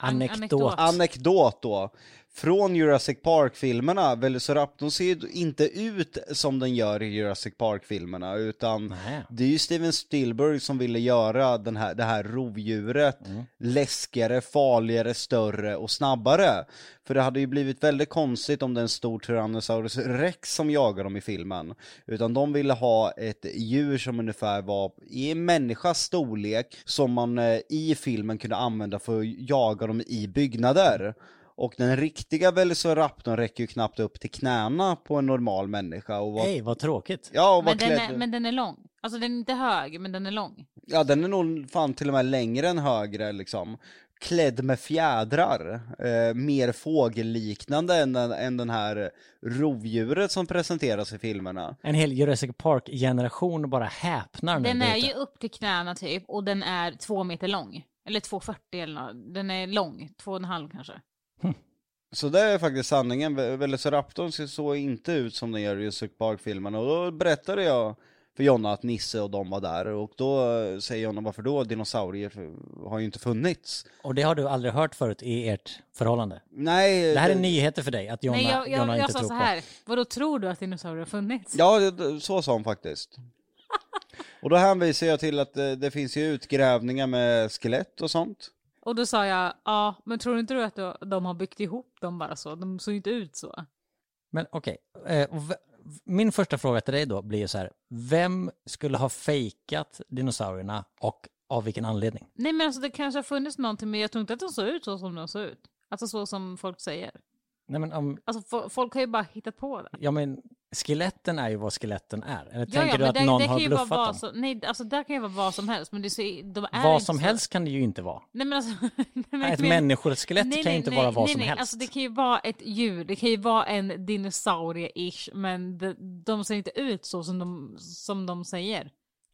S3: An-
S2: Anekdot.
S3: anekdot.
S1: Anekdot då. Från Jurassic Park-filmerna, Velociraptorn ser ju inte ut som den gör i Jurassic Park-filmerna utan
S2: Nej.
S1: det är ju Steven Spielberg som ville göra den här, det här rovdjuret
S2: Mm.
S1: läskigare, farligare, större och snabbare. För det hade ju blivit väldigt konstigt om det är en stor Tyrannosaurus rex som jagar dem i filmen. Utan de ville ha ett djur som ungefär var i en människas storlek som man eh, i filmen kunde använda för att jaga dem i byggnader. Och den riktiga Velociraptorn räcker ju knappt upp till knäna på en normal människa och var,
S2: Hej, vad tråkigt.
S1: ja, och var
S3: Men den,
S1: klädd...
S3: är, men den är lång. Alltså den är inte hög, men den är lång.
S1: Ja den är nog fan till och med längre än högre liksom. Klädd med fjädrar, eh, mer fågelliknande än, den- än den här rovdjuret som presenteras i filmerna.
S2: En hel Jurassic Park-generation bara häpnar nu
S3: Den
S2: där
S3: är
S2: ute.
S3: ju upp till knäna typ och den är två meter lång. Eller 2,40 eller något. Den är lång, två och en halv kanske.
S1: Så det är faktiskt sanningen, Ve- Velociraptorn ser så inte ut som den gör i Jurassic Park-filmerna och då berättade jag för Jonna att Nisse och de var där och då eh, säger Jonna varför då, dinosaurier har ju inte funnits.
S2: Och det har du aldrig hört förut i ert förhållande.
S1: Nej,
S2: Det här är
S1: det-
S2: nyheter för dig, att Jonna,
S3: Nej, jag,
S2: Jonna
S3: jag, jag
S2: inte
S3: sa
S2: tror
S3: så här. Vadå tror du att dinosaurier har funnits?
S1: Ja, det- så sa hon faktiskt. Och då hänvisar jag till att eh, det, det finns ju utgrävningar med skelett och sånt.
S3: Och då sa jag, ja, men tror inte du att du- de har byggt ihop dem bara så? De såg ju inte ut så.
S2: på. Men okej, eh, och v- min första fråga till dig då blir ju så här, vem skulle ha fejkat dinosaurierna och av vilken anledning?
S3: Nej, men alltså det kanske har funnits någonting, men jag tror inte att de såg ut så som de såg ut. Alltså så som folk säger.
S2: Nej men, om,
S3: Alltså fo- folk har ju bara hittat på det.
S2: ja, men skeletten är ju vad skeletten är. Eller tänker
S3: Ja, ja,
S2: du
S3: men
S2: att
S3: det-
S2: någon
S3: det kan
S2: har
S3: ju vara
S2: bluffat
S3: vad
S2: dem?
S3: som- nej, alltså där kan ju vara vad som helst, men det ser, de är
S2: Vad
S3: inte
S2: som
S3: så.
S2: helst kan det ju inte vara.
S3: Nej, men alltså, nej, men jag
S2: Ett
S3: menar-
S2: människoskelett
S3: nej,
S2: kan
S3: nej,
S2: ju inte
S3: nej,
S2: vara vad
S3: nej,
S2: som
S3: nej.
S2: helst.
S3: Alltså det kan ju vara ett djur, det kan ju vara en dinosaurie-ish, men de, de ser inte ut så som de, som de säger.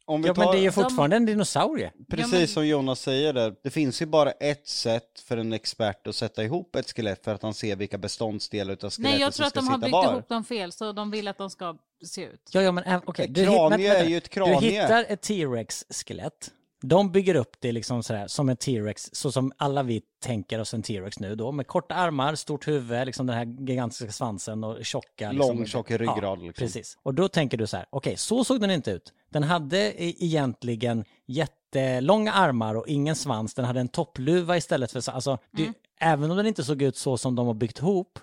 S1: Om vi
S2: Ja,
S1: tar,
S2: men det är ju fortfarande en dinosaurie.
S1: Precis
S3: Ja, men-
S1: som Jonas säger där, det finns ju bara ett sätt för en expert att sätta ihop ett skelett för att han ser vilka beståndsdelar utav skelettet
S3: Nej, jag tror
S1: som
S3: att
S1: ska
S3: de har
S1: sitta
S3: byggt
S1: var.
S3: ihop dem fel, så de vill att de ska se ut.
S2: Ja, ja, men äh, okej.
S1: Ett
S2: Du hit-
S1: kranie
S2: vänta, vänta.
S1: är ju ett kranie.
S2: Du hittar ett T-Rex-skelett. De bygger upp det liksom sådär, som en T-Rex, så som alla vi tänker oss en T-Rex nu då, med korta armar, stort huvud, liksom den här gigantiska svansen och tjocka... Liksom,
S1: Lång, tjock ryggrad, liksom.
S2: precis. Och då tänker du så här, okej, så såg den inte ut. Den hade e- egentligen jättelånga armar och ingen svans, den hade en toppluva istället för... så- Alltså, det- även om den inte såg ut så som de har byggt ihop,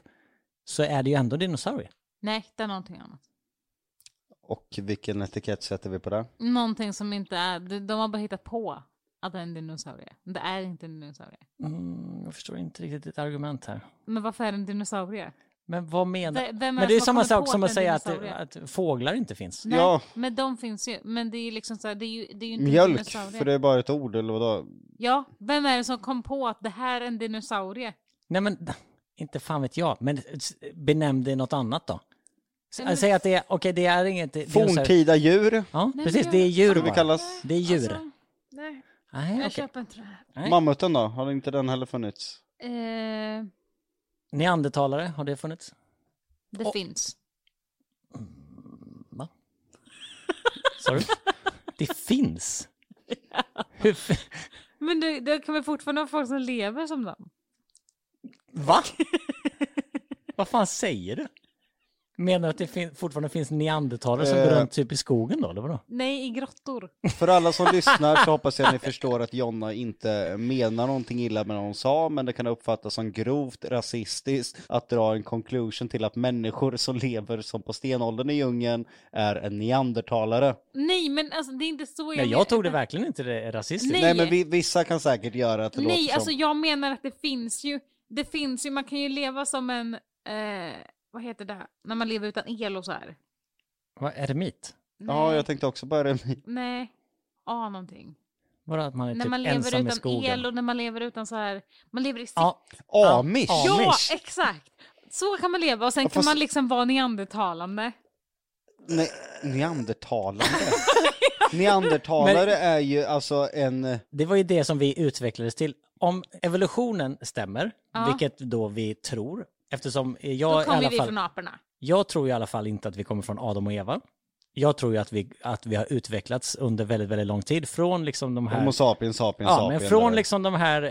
S2: så är det ju ändå dinosaurier.
S3: Nej, det är någonting annat.
S1: Och vilken etikett sätter vi på det?
S3: Någonting som inte är, de, de har bara hittat på att det är en dinosaurie. Det är inte en dinosaurie.
S2: Mm, jag förstår inte riktigt ditt argument här.
S3: Men varför är det en dinosaurie?
S2: Men vad menar
S3: V- vem är det
S2: Men det är
S3: som
S2: samma
S3: har kommit
S2: sak
S3: på
S2: som att
S3: en
S2: säga att,
S3: dinosaurie?
S2: att fåglar inte finns.
S3: Nej,
S1: Ja.
S3: men de finns ju. Men det är ju liksom så här, det är ju, det är ju inte en
S1: Mjölk,
S3: dinosaurie.
S1: för det är bara ett ord eller vadå?
S3: Ja, vem är det som kom på att det här är en dinosaurie?
S2: Nej men, inte fan vet jag. Men s- benämn det något annat då. S-
S3: Nej, men-
S2: Säg att det är, okej det är inget... det är dinosaurier.
S1: Forntida djur,
S2: Ja,
S3: men
S2: precis.
S3: jag-
S2: Det är djur
S1: skulle vi
S2: bara.
S1: kallas.
S2: Det är djur.
S3: Alltså, nej,
S2: Nej,
S3: jag
S2: okej.
S3: köper inte det här.
S2: Nej.
S1: Mammuten då, har inte den heller funnits?
S3: Eh,
S2: Neandertalare, har det funnits?
S3: det
S2: Och-
S3: finns.
S2: Va? Sa du? Det finns. Hur f-
S3: Men det, det kan väl fortfarande vara folk som lever som dem?
S2: Va? Vad fan säger du? Menar du att det fin- fortfarande finns neandertalare som går
S1: Eh.
S2: runt typ i skogen då, eller vadå?
S3: Nej, i grottor.
S1: För alla som lyssnar så hoppas jag att ni förstår att Jonna inte menar någonting illa med det hon sa, men det kan uppfattas som grovt rasistiskt att dra en conclusion till att människor som lever som på stenåldern i djungeln är en neandertalare.
S3: Nej, men alltså det är inte så jag
S2: Nej,
S3: menar.
S2: jag tog det verkligen inte det rasistiskt.
S1: Nej,
S3: Nej.
S1: men vi, vissa kan säkert göra att det låter
S3: Nej,
S1: som...
S3: alltså jag menar att det finns ju, det finns ju, man kan ju leva som en, eh, vad heter det, när man lever utan el och så här.
S2: Vad är det mitt?
S3: Nej,
S1: Ja, jag tänkte också börja
S3: nej, ja någonting.
S2: Bara att man är
S3: när
S2: typ
S3: man lever
S2: ensam i
S3: utan
S2: skogen.
S3: el och när man lever utan så här, man lever i säck.
S2: Ja,
S1: Amish!
S2: Ja,
S3: Ja,
S2: amish.
S3: exakt! Så kan man leva och sen
S1: Ja,
S3: kan
S1: fast-
S3: man liksom vara neandertalande.
S1: Nej, neandertalande. Neandertalare är ju alltså en...
S2: det var ju det som vi utvecklades till. Om evolutionen stämmer,
S3: Ja.
S2: vilket då vi tror, eftersom eh,
S3: Då
S2: jag i
S3: kommer
S2: alla
S3: vi
S2: fall...
S3: från aporna.
S2: Jag tror i alla fall inte att vi kommer från Adam och Eva. Jag tror ju att vi, att vi har utvecklats under väldigt, väldigt lång tid från liksom de här...
S1: Homo sapiens sapiens
S2: Ja, men
S1: sapiens.
S2: från
S1: där.
S2: liksom de här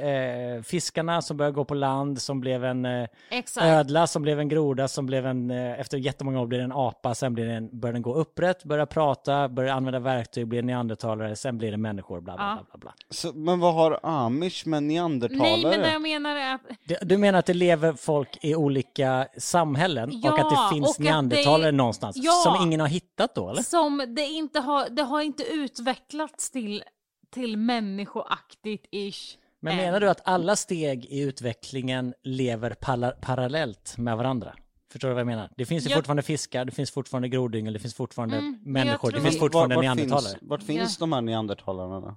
S2: eh, fiskarna som började gå på land, som blev en eh,
S3: Exakt.
S2: ödla, som blev en groda, som blev en, eh, efter jättemånga år blev det en apa, sen blev det en, började den gå upprätt, började prata, började använda verktyg, blev neandertalare, sen blev det människor, bla bla
S3: Ja.
S2: bla. bla, bla.
S1: Så, men vad har amish med
S3: Nej,
S1: neandertalare?
S3: men det jag menar är att
S2: Det- Du menar att det lever folk i olika samhällen och
S3: Ja,
S2: att det
S3: och
S2: finns
S3: att det-
S2: neandertalare någonstans
S3: Ja.
S2: som ingen har hittat då eller?
S3: som det inte har, det har inte utvecklats till, till människoaktigt ish.
S2: Men menar du att alla steg i utvecklingen lever pala- parallellt med varandra? Förstår du vad jag menar? Det finns ju
S3: Jag-
S2: fortfarande fiskar, det finns fortfarande grodyngel, det finns fortfarande
S3: Mm, men jag
S2: människor, det
S3: tror-
S2: finns
S3: Men
S2: fortfarande
S1: vart
S2: neandertalare.
S1: Finns, vart finns de här neandertalarna då?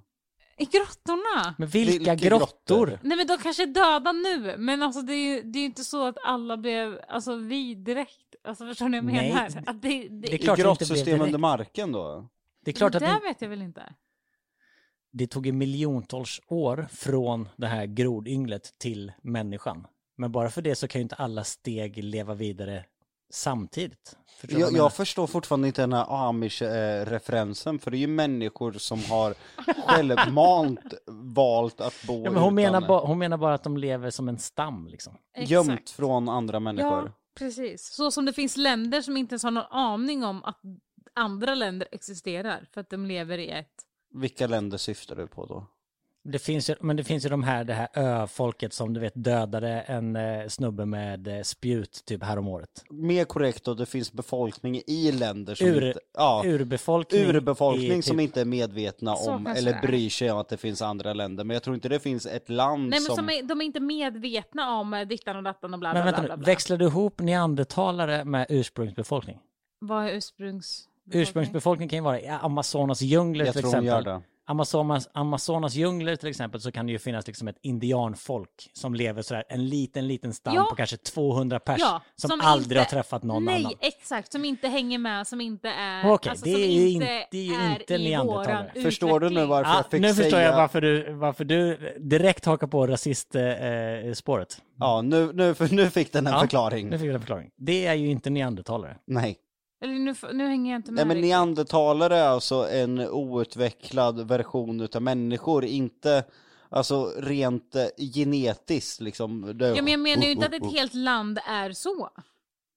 S3: I grottorna?
S2: Men vilka
S1: Vilka
S2: grottor?
S1: grottor?
S3: Nej men de kanske är döda nu, men alltså det är ju det är ju inte så att alla blev, alltså vi direkt, alltså förstår ni vad jag
S2: Nej,
S3: menar?
S2: det-
S3: Att det, det,
S2: det är
S3: det,
S2: klart att
S1: I
S2: det inte blev
S1: grottsystem under
S2: direkt.
S1: marken då?
S2: Det är klart att
S3: Mm, där
S2: det,
S3: vet jag väl inte.
S2: det tog ju miljontals år från det här grodynglet till människan. Men bara för det så kan ju inte alla steg leva vidare samtidigt. Förstår du vad
S1: Jag,
S2: jag menar?
S1: jag förstår fortfarande inte den här amish-referensen, för det är ju människor som har självmant valt att bo
S2: Ja, men hon,
S1: utan,
S2: menar ba, hon menar bara att de lever som en stam liksom.
S1: gömt från andra människor.
S3: Ja, precis. Så som det finns länder som inte ens har någon aning om att andra länder existerar för att de lever i ett...
S1: Vilka länder syftar du på då?
S2: Det finns ju, men det finns ju de här, det här öfolket som du vet dödade en eh, snubbe med eh, spjut typ här om året.
S1: Mer korrekt då, det finns befolkning i länder som
S2: Ur-
S1: inte... Ja,
S2: Urbefolkning.
S1: urbefolkning
S2: i
S1: som
S2: typ-
S1: inte är medvetna
S3: Så
S1: om
S3: kanske det
S1: eller
S3: är.
S1: bryr sig om att det finns andra länder. Men jag tror inte det finns ett
S2: Mm,
S1: land
S3: Nej men
S1: som...
S3: som är, de är inte medvetna om eh, dittan och dattan och bla bla
S2: Men vänta
S3: bla,
S2: nu,
S3: bla, bla.
S2: växlar du ihop neandertalare med ursprungsbefolkning?
S3: Vad är ursprungs...
S2: Ursprungsbefolkning kan ju vara i Amazonas djungler
S1: jag
S2: till
S1: tror hon gör
S2: exempel.
S1: det.
S2: Amazonas, Amazonas djungler till exempel så kan det ju finnas liksom ett indianfolk som lever sådär en liten, liten stam
S3: Ja.
S2: på kanske 200 pers
S3: Ja,
S2: som,
S3: som
S2: aldrig har
S3: inte-
S2: träffat någon
S3: Nej,
S2: annan.
S3: exakt. Som inte hänger med, som inte är... alltså,
S2: Okej, det
S3: som
S2: är ju inte- det är ju
S3: är
S2: inte
S3: i våran
S2: neandertalare.
S1: Förstår du nu
S3: utveckling.
S1: varför
S2: Ja,
S1: jag fick
S2: Ah, nu förstår
S1: säga...
S2: jag varför du, varför du direkt hakar på rasistspåret. Eh, spåret.
S1: Ja, nu, nu, för, nu fick den en
S2: Ja,
S1: förklaring.
S2: nu fick jag en förklaring. Det är ju inte neandertalare.
S1: Nej.
S3: Eller nu, f- nu hänger jag inte
S1: Nej
S3: med.
S1: men
S3: riktigt.
S1: neandertalare är alltså en outvecklad version utav människor, inte alltså rent eh, genetiskt liksom. Det-
S3: ja, men jag menar ju inte att
S1: Oh, oh,
S3: ett
S1: oh.
S3: helt land är så.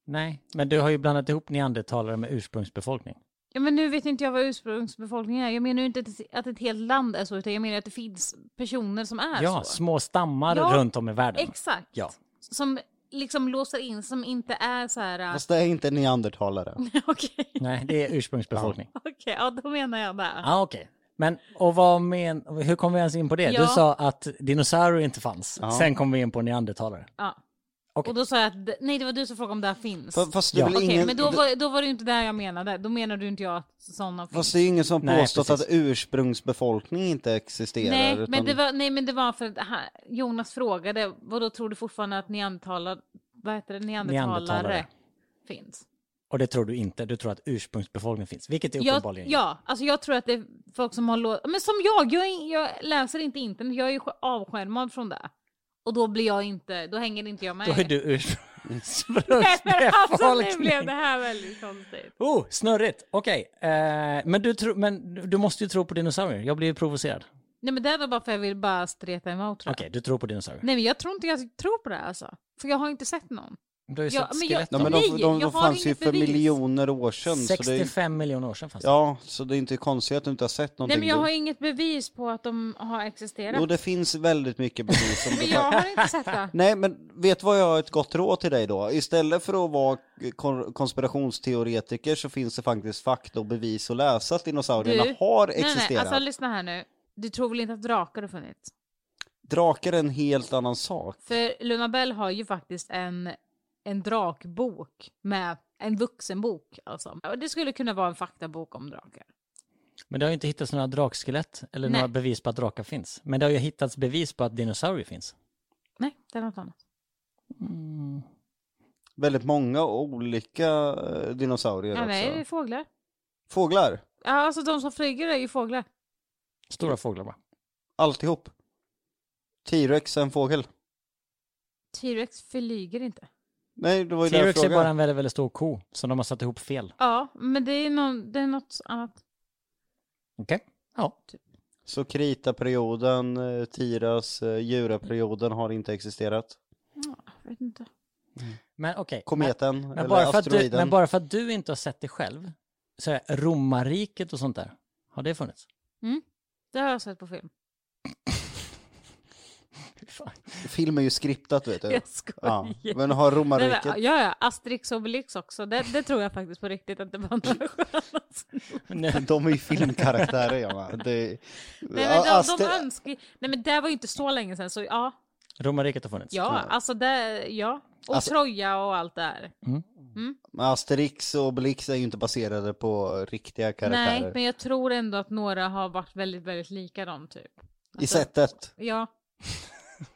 S2: Nej, men du har ju blandat ihop neandertalare med ursprungsbefolkning.
S3: Ja, men nu vet inte jag vad ursprungsbefolkningen är. Jag menar ju inte att ett- att ett helt land är så, utan jag menar att det finns personer som är
S2: Ja,
S3: så.
S2: små stammar
S3: Ja,
S2: runt om i världen.
S3: Exakt.
S2: Ja.
S3: Som liksom låser in, som inte är så här... äh,
S1: Fast det är inte neandertalare.
S3: Okej, okej,
S2: Nej, det är ursprungsbefolkning.
S3: ja då menar jag det.
S2: Ja, ah, okej. Men och vad men, hur kom vi ens in på det? Du
S3: Ja.
S2: sa att dinosaurier inte fanns.
S1: Ja.
S2: Sen kom vi in på neandertalare.
S3: Ja.
S2: Okej.
S3: Och då sa jag att, nej det var du som frågade om det här finns.
S1: Fa- Fast det
S2: Ja.
S1: är väl
S3: Okej,
S1: ingen...
S3: men då var, då var det ju inte där jag menade. Då menade du inte jag att sådana
S1: Fast
S3: finns.
S1: det är ju ingen som
S2: Nej,
S1: påstått
S2: precis.
S1: att ursprungsbefolkning inte existerar.
S3: Nej
S1: utan...
S3: men, det var, nej, men det var för att ha- Jonas frågade, vad då tror du fortfarande att neandertalare, vad heter det, neandertalare,
S2: Neandertalare.
S3: finns?
S2: Och det tror du inte. Du tror att ursprungsbefolkning finns, vilket är
S3: Jag,
S2: uppenbarligen
S3: ja, alltså jag tror att det är folk som har låtit, men som jag, jag, är- jag läser inte internet, jag är ju avskärmad från det. Och då blir jag inte, då hänger inte jag med.
S2: Då är du
S3: Nej, men alltså nu blev
S2: ursprungsbefolkning.
S3: det här väldigt konstigt.
S2: Oh, snurrigt. Okej, eh, men, du tro, men du måste ju tro på dinosaurier. Jag blir ju provocerad.
S3: Nej men det här var bara för jag vill bara streta emot tror
S2: Okej,
S3: jag.
S2: du tror på dinosaurier.
S3: Nej men jag tror inte jag tror på det här alltså. För jag har inte sett någon.
S2: Du har ju
S3: Ja,
S2: sett
S3: men jag-
S2: skelett
S1: Ja,
S2: av
S1: men
S2: dem.
S1: de,
S3: Nej,
S1: de, de,
S3: jag har
S1: fanns ju
S3: inget
S1: för
S3: bevis.
S1: miljoner år sedan. Så det,
S2: 65 miljoner år sedan fanns det.
S1: ja, så det är inte konstigt att du inte har sett någonting.
S3: Nej men jag
S1: du-
S3: har inget bevis på att de har existerat.
S1: Jo, det finns väldigt mycket bevis. Som
S3: Men
S1: du
S3: jag
S1: tar...
S3: har inte sett det.
S1: Nej, men vet vad jag har ett gott råd till dig då? Istället för att vara kon- konspirationsteoretiker så finns det faktiskt fakta och bevis att läsa att dinosaurierna
S3: Du?
S1: har
S3: Nej,
S1: existerat.
S3: nej, alltså lyssna här nu. Du tror väl inte att drakar har funnits?
S1: Drakar är en helt annan sak.
S3: För Luna Bell har ju faktiskt en, en drakbok med en vuxenbok alltså. Och det skulle kunna vara en faktabok om drakar.
S2: Men det har ju inte hittats några drakskelett eller
S3: Nej.
S2: några bevis på att drakar finns. Men det har ju hittats bevis på att dinosaurier finns.
S3: Nej, det är något annat. Mm.
S1: Väldigt många olika eh, dinosaurier
S3: Ja,
S1: också.
S3: nej, det är fåglar.
S1: Fåglar,
S3: Ja, alltså de som flyger är ju fåglar.
S2: Stora fåglar bara.
S1: alltihop. T-rex är en fågel.
S3: T-rex flyger inte.
S1: Nej, det var ju det jag
S2: T-rex är
S1: frågade.
S2: bara en väldigt, väldigt stor ko som de har satt ihop fel.
S3: Ja, men det är, någon, det är något annat.
S2: Okej? Ja.
S1: Så kritaperioden, eh, tiras, eh, juraperioden har inte existerat.
S3: Jag vet inte.
S2: Men okej. Men-
S1: Kometen
S2: Men
S1: eller
S2: bara, för att du,
S1: asteroiden.
S2: men bara för att du inte har sett det själv, så här, romarriket och sånt där, har det funnits?
S3: Det har jag sett på film.
S2: Fy fan.
S1: Film är ju skriptat vet du.
S3: Jag skojar.
S1: Eh, Ja. Men har
S3: Nej, men,
S1: romarriket...
S3: ja, ja, Asterix och Obelix också. Det, det tror jag faktiskt på riktigt att det var några annat.
S2: Men nu-
S1: De är ju filmkaraktärer ja. Det...
S3: Nej men de, de
S1: Aster-
S3: önskar Nej men det var ju inte så länge sedan så ja.
S2: Romarriket har funnits?
S3: Ja, alltså det, ja. Och
S1: Alltså-
S3: Troja och allt det där.
S1: Men Asterix och Obelix är ju inte baserade på riktiga karaktärer.
S3: Nej, men jag tror ändå att några har varit väldigt, väldigt lika dem typ.
S1: I sättet.
S3: Ja,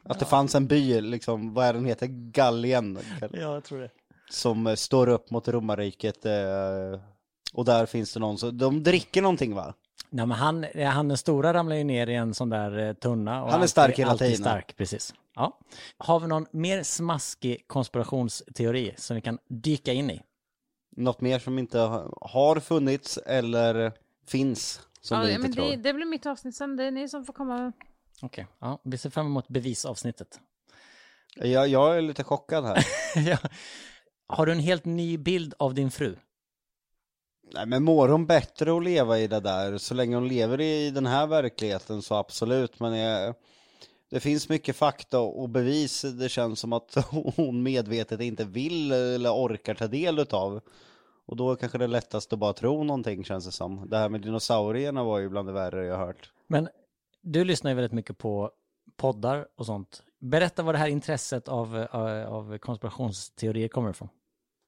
S1: Att det fanns en by, liksom, vad är den heter? Gallien.
S2: Ja, jag tror det.
S1: Som eh, står upp mot romarriket. Eh, och där finns det någon som, de dricker någonting va?
S2: Nej, men han, eh, han den stora ramlar ju ner i en sån där eh, tunna. Och
S1: Han är stark
S2: alltid,
S1: hela
S2: alltid
S1: tiden.
S2: stark, precis. Ja. Har vi någon mer smaskig konspirationsteori som vi kan dyka in i?
S1: Något mer som inte ha- har funnits eller finns som
S3: ja
S1: vi
S3: men
S1: inte tror.
S3: det, det blir mitt avsnitt sen. Det är ni som får komma.
S2: Okej, ja, vi ser fram emot bevisavsnittet.
S1: Jag, jag är lite chockad här.
S2: ja. Har du en helt ny bild av din fru?
S1: Nej men mår hon bättre att leva i det där? Så länge hon lever i den här verkligheten så absolut. Men jag, det finns mycket fakta och bevis. Det känns som att hon medvetet inte vill eller orkar ta del utav. Och då är kanske det lättast att bara tro någonting känns det som. Det här med dinosaurierna var ju bland det värre jag hört.
S2: Men du lyssnar ju väldigt mycket på poddar och sånt. Berätta var det här intresset av, eh, av konspirationsteorier kommer ifrån.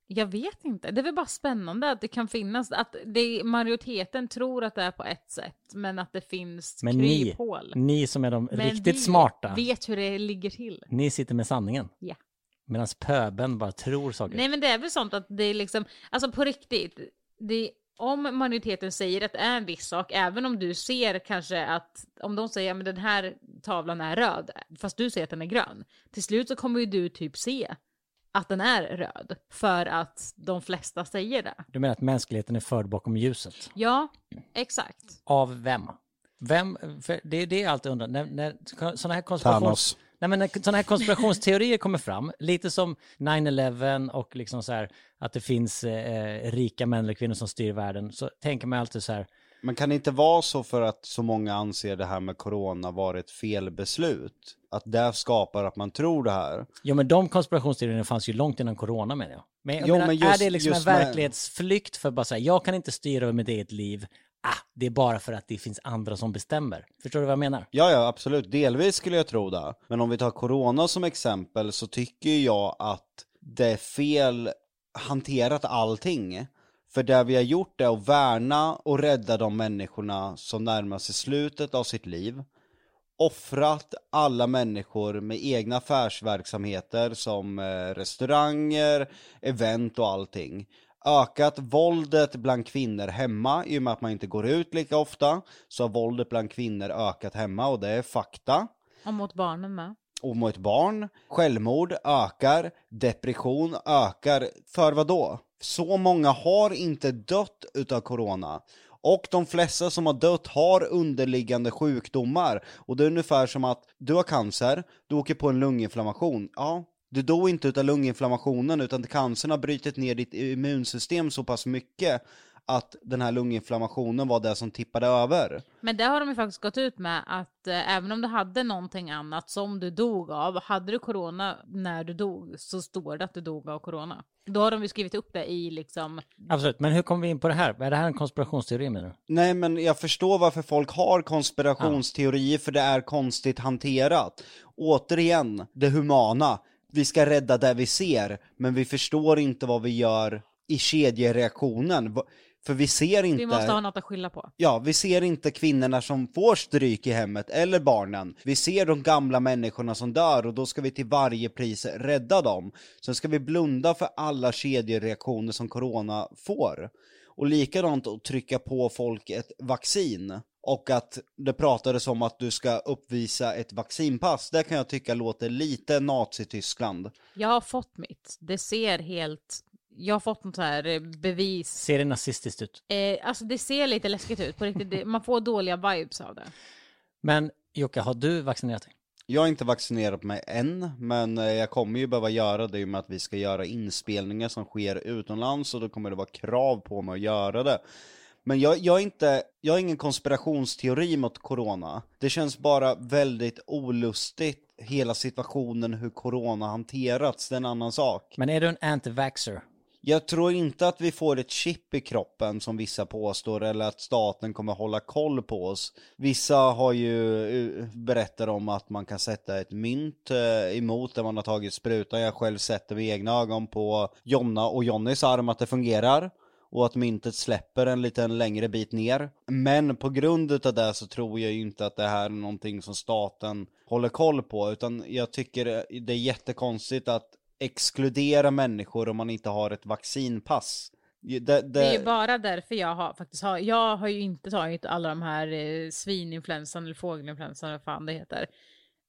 S3: Jag vet inte. Det är väl bara spännande att det kan finnas. Att det, majoriteten tror att det är på ett sätt, men att det finns
S2: Men ni-
S3: kryphål.
S2: Ni som är de
S3: Men
S2: riktigt
S3: vi
S2: smarta,
S3: vet hur det ligger till.
S2: ni sitter med sanningen.
S3: Ja.
S2: Medan pöben bara tror saker.
S3: Nej men det är väl sånt att det är liksom, alltså på riktigt, det, om majoriteten säger att det är en viss sak, även om du ser kanske att, om de säger att den här tavlan är röd, fast du ser att den är grön, till slut så kommer ju du typ se att den är röd, för att de flesta säger det.
S2: Du menar att mänskligheten är förd bakom ljuset?
S3: Ja, exakt.
S2: Av vem? Vem? För det är det jag alltid undrar. När, när sådana här konspirations...
S1: Thanos.
S2: Nej, men när sådana här konspirationsteorier kommer fram, lite som 9-11 och liksom så här, att det finns eh, rika män eller kvinnor som styr världen, så tänker man alltid så här,
S1: Men kan det inte vara så för att så många anser det här med corona vara ett felbeslut? Att det skapar att man tror det här.
S2: jo men de konspirationsteorierna fanns ju långt innan corona menar jag. Men, jag
S1: Jo,
S2: menar,
S1: men just-
S2: är det liksom en
S1: just med-
S2: verklighetsflykt för bara så här, jag kan inte styra över mitt eget liv, ah, det är bara för att det finns andra som bestämmer. Förstår du vad jag menar?
S1: Ja, ja, absolut. Delvis skulle jag tro det. Men om vi tar corona som exempel så tycker jag att det är fel hanterat allting. För det vi har gjort är att värna och rädda de människorna som närmar sig slutet av sitt liv. Offrat alla människor med egna affärsverksamheter som eh, restauranger, event och allting. Ökat våldet bland kvinnor hemma i och med att man inte går ut lika ofta så har våldet bland kvinnor ökat hemma och det är fakta.
S3: Och mot barnen med.
S1: Och mot barn, självmord ökar, depression ökar. För vad då? Så många har inte dött utav corona. Och de flesta som har dött har underliggande sjukdomar. Och det är ungefär som att du har cancer, du åker på en lunginflammation. Ja, Du dog inte utav lunginflammationen utan cancern har brutit ner ditt immunsystem så pass mycket att den här lunginflammationen var det som tippade över.
S3: Men det har de ju faktiskt gått ut med att eh, även om du hade någonting annat som du dog av, hade du corona när du dog så står det att du dog av corona. Då har de ju skrivit upp det i liksom,
S2: Absolut, men hur kom vi in på det här? Är det här en konspirationsteori menar du?
S1: Nej men jag förstår varför folk har konspirationsteorier för det är konstigt hanterat. Återigen, det humana. Vi ska rädda det vi ser, men vi förstår inte vad vi gör i kedjereaktionen. Va- För vi ser inte...
S3: vi måste ha något att skylla på.
S1: Ja, vi ser inte kvinnorna som får stryk i hemmet eller barnen. Vi ser de gamla människorna som dör och då ska vi till varje pris rädda dem. Sen ska vi blunda för alla kedjereaktioner som corona får. Och likadant att trycka på folk ett vaccin. Och att det pratades om att du ska uppvisa ett vaccinpass. Det kan jag tycka låter lite Nazityskland.
S3: Jag har fått mitt, det ser helt, jag har fått något så här eh, bevis
S2: Ser det nazistiskt ut?
S3: Eh, alltså det ser lite läskigt ut på riktigt. Det, man får dåliga vibes av det.
S2: Men Jocke, har du vaccinerat dig?
S1: Jag har inte vaccinerat mig än, men eh, jag kommer ju behöva göra det i och med att vi ska göra inspelningar som sker utomlands och då kommer det vara krav på mig att göra det. Men jag, jag, är inte, jag har ingen konspirationsteori mot corona. Det känns bara väldigt olustigt, hela situationen hur corona hanterats, det är en annan sak.
S2: Men är du en anti-vaxxer?
S1: Jag tror inte att vi får ett chip i kroppen som vissa påstår eller att staten kommer hålla koll på oss. Vissa har ju eh, berättat om att man kan sätta ett mynt eh, emot där man har tagit sprutan. Jag har själv sett det med egna ögon på Jonna och Jonnys arm att det fungerar och att myntet släpper en liten längre bit ner. Men på grund utav det så tror jag ju inte att det här är någonting som staten håller koll på utan jag tycker eh, det är jättekonstigt att exkludera människor om man inte har ett vaccinpass. Det, det,
S3: Det är ju bara därför jag har faktiskt har, jag har ju inte tagit alla de här eh, svininfluensan eller fågelinfluensan eller vad fan det heter.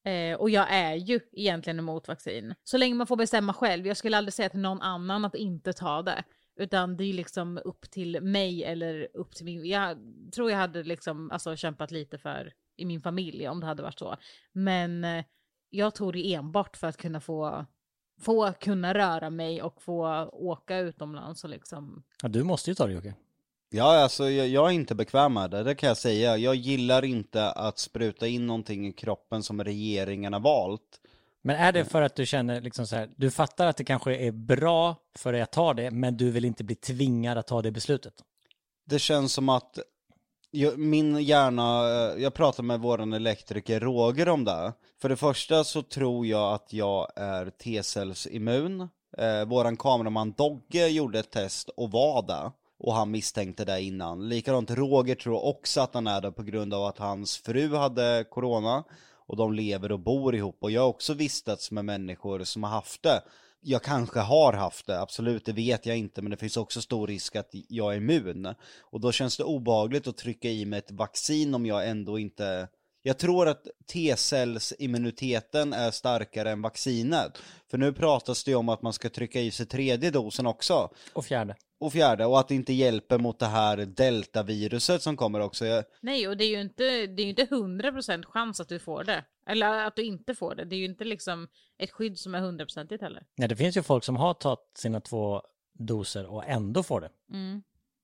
S3: Eh, och jag är ju egentligen emot vaccin. Så länge man får bestämma själv. Jag skulle aldrig säga till någon annan att inte ta det. Utan det är liksom upp till mig eller upp till min... Jag tror jag hade liksom alltså, kämpat lite för i min familj om det hade varit så. Men eh, jag tog det enbart för att kunna få, få kunna röra mig och få åka utomlands och liksom
S2: Ja, du måste ju ta det Jocke.
S1: Ja, alltså jag, jag är inte bekväm med det, det kan jag säga. Jag gillar inte att spruta in någonting i kroppen som regeringen har valt.
S2: Men är det för att du känner liksom så här, du fattar att det kanske är bra för dig att ta det, men du vill inte bli tvingad att ta det beslutet?
S1: Det känns som att jag, min hjärna, eh, jag pratade med våran elektriker Roger om det. För det första så tror jag att jag är T-cellsimmun. Eh, våran kameraman Dogge gjorde ett test och var det. Och han misstänkte det innan. Likadant Roger tror också att han är det på grund av att hans fru hade corona. Och de lever och bor ihop. Och jag har också vistats med människor som har haft det. Jag kanske har haft det, absolut, det vet jag inte, men det finns också stor risk att jag är immun. Och då känns det obehagligt att trycka i mig ett vaccin om jag ändå inte... Jag tror att T-cellsimmuniteten är starkare än vaccinet. För nu pratas det ju om att man ska trycka i sig tredje dosen också.
S2: Och fjärde.
S1: Och fjärde, och att det inte hjälper mot det här deltaviruset som kommer också. Jag,
S3: Nej, och det är ju inte, det är ju inte 100% chans att du får det. Eller att du inte får det. Det är ju inte liksom ett skydd som är 100% heller.
S2: Nej, det finns ju folk som har tagit sina två doser och ändå får det.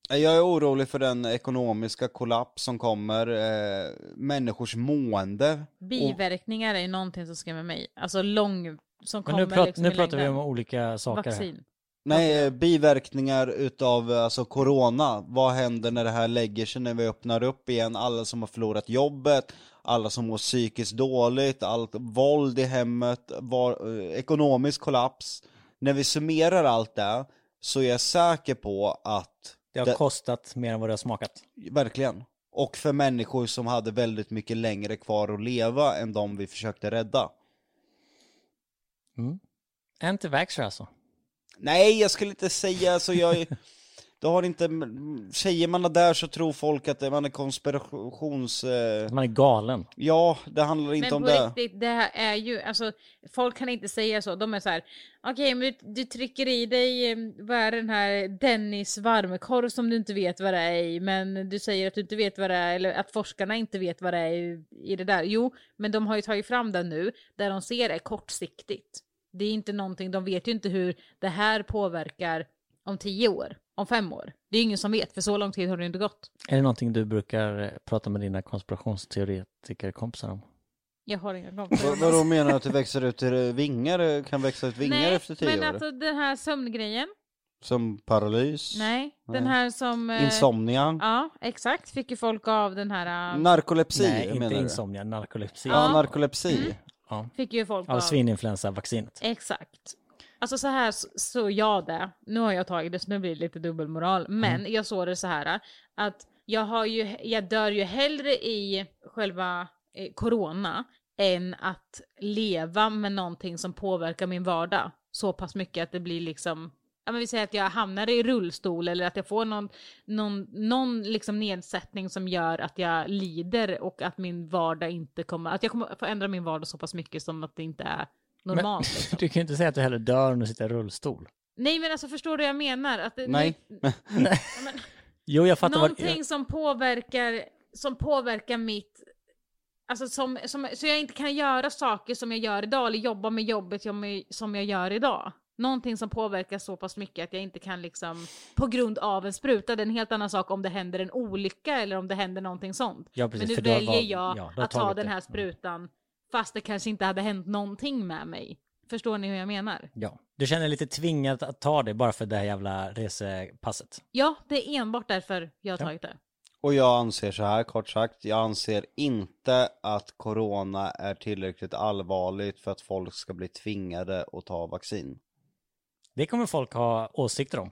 S1: Jag är orolig för den ekonomiska kollaps som kommer, eh, människors mående.
S3: Biverkningar är någonting som skrämmer mig. Alltså lång, som
S2: Men
S3: kommer
S2: nu, prat,
S3: liksom
S2: nu
S3: i
S2: pratar vi
S3: längden.
S2: om olika saker. här.
S3: Vaccin.
S1: Nej, eh, biverkningar utav eh, alltså corona. Vad händer när det här lägger sig, när vi öppnar upp igen? Alla som har förlorat jobbet, alla som mår psykiskt dåligt, allt våld i hemmet, var, eh, ekonomisk kollaps. När vi summerar allt det så är jag säker på att
S2: Det har
S1: det-
S2: kostat mer än vad det har smakat.
S1: Verkligen. Och för människor som hade väldigt mycket längre kvar att leva än de vi försökte rädda.
S2: Mm. Anti-vaxxer alltså.
S1: Nej, jag skulle inte säga så. Jag, då har inte, säger man det där så tror folk att man är konspirations... Eh,
S2: Man är galen.
S1: ja, det handlar inte
S3: Men
S1: om
S3: på
S1: det.
S3: riktigt, det här är ju, alltså folk kan inte säga så. De är så här, okej men du, du trycker i dig, eh, vad är den här Dennis varmkorv som du inte vet vad det är i, men du säger att du inte vet vad det är, eller att forskarna inte vet vad det är i, i det där. Jo, men de har ju tagit fram den nu, där de ser det kortsiktigt. Det är inte någonting, de vet ju inte hur det här påverkar om tio år, om fem år. Det är ingen som vet, för så lång tid har det inte gått.
S2: Är det någonting du brukar eh, prata med dina konspirationsteoretikerkompisar om?
S3: Jag har inga
S1: Vad,
S3: kompisar.
S1: vadå menar du att det växer ut eh, vingar, eh, kan växa ut vingar
S3: Nej,
S1: efter tio
S3: men
S1: år?
S3: alltså den här sömngrejen.
S1: Som paralys?
S3: Nej, den
S1: Nej.
S3: här som... eh,
S1: Insomnia?
S3: Ja, exakt. Fick ju folk av den här... eh,
S1: Narkolepsi
S2: Nej,
S1: menar
S2: inte
S1: du?
S2: insomnia, narkolepsi.
S1: Ja,
S3: Ja. Mm.
S1: narkolepsi.
S2: Ja.
S3: Fick ju folk
S2: Av svininfluensavaccinet.
S3: Exakt. Alltså så här s- såg jag det. Nu har jag tagit det så nu blir det lite dubbelmoral. Men jag såg det så här att jag, har ju, jag dör ju hellre i själva eh, corona än att leva med någonting som påverkar min vardag så pass mycket att det blir liksom Ja, men vi säger att jag hamnar i rullstol eller att jag får någon, någon, någon liksom nedsättning som gör att jag lider och att min vardag inte kommer, att jag kommer få ändra min vardag så pass mycket som att det inte är normalt. liksom.
S2: Du kan ju inte säga att du hellre dör än du sitter i rullstol.
S3: Nej men alltså förstår du vad jag menar? Att det,
S1: Nej.
S2: Jo, jag fattar vad...
S3: någonting som påverkar, som påverkar mitt, alltså som, som, så jag inte kan göra saker som jag gör idag eller jobba med jobbet jag- som jag gör idag. Någonting som påverkar så pass mycket att jag inte kan liksom, på grund av en spruta, det är en helt annan sak om det händer en olycka eller om det händer någonting sånt.
S2: Ja, precis,
S3: Men nu
S2: för du har
S3: väljer
S2: val-
S3: jag
S2: ja, du har
S3: att ta
S2: tagit
S3: den
S2: det.
S3: här
S2: Mm.
S3: sprutan fast det kanske inte hade hänt någonting med mig. Förstår ni hur jag menar?
S2: Ja. Du känner dig lite tvingad att ta det bara för det här jävla resepasset.
S3: Ja, det är enbart därför jag har
S2: Ja.
S3: tagit det.
S1: Och jag anser så här kort sagt, jag anser inte att corona är tillräckligt allvarligt för att folk ska bli tvingade att ta vaccin.
S2: Det kommer folk ha åsikter om.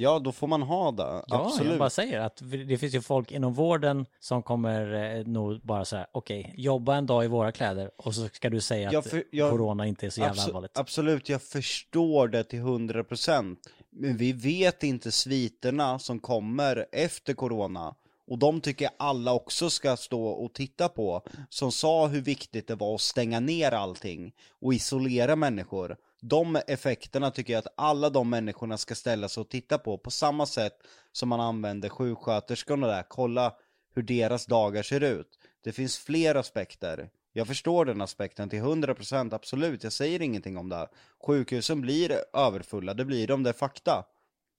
S1: Ja, då får man ha det,
S2: Ja, jag
S1: absolut.
S2: bara säger att det finns ju folk inom vården som kommer eh, nog bara så här, okej, jobba en dag i våra kläder och så ska du säga
S1: Ja,
S2: att
S1: för jag-
S2: corona inte är så jävla
S1: Abso-
S2: allvarligt.
S1: absolut, jag förstår det till 100%. Men vi vet inte sviterna som kommer efter corona. Och de tycker jag alla också ska stå och titta på. Som sa hur viktigt det var att stänga ner allting och isolera människor. De effekterna tycker jag att alla de människorna ska ställa sig och titta på. På samma sätt som man använder sjuksköterskorna där. Kolla hur deras dagar ser ut. Det finns fler aspekter. Jag förstår den aspekten till 100% absolut, jag säger ingenting om det. här. Sjukhusen blir överfulla, det blir de, det är fakta.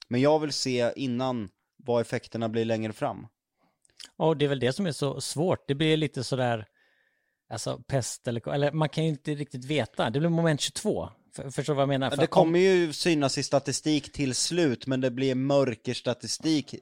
S1: Men jag vill se innan vad effekterna blir längre fram.
S2: Och det är väl det som är så svårt. Det blir lite sådär, alltså pest eller, eller man kan ju inte riktigt veta. Det blir moment 22. För, förstår du vad jag menar? För
S1: det
S2: att om-
S1: kommer ju synas i statistik till slut, men det blir mörker statistik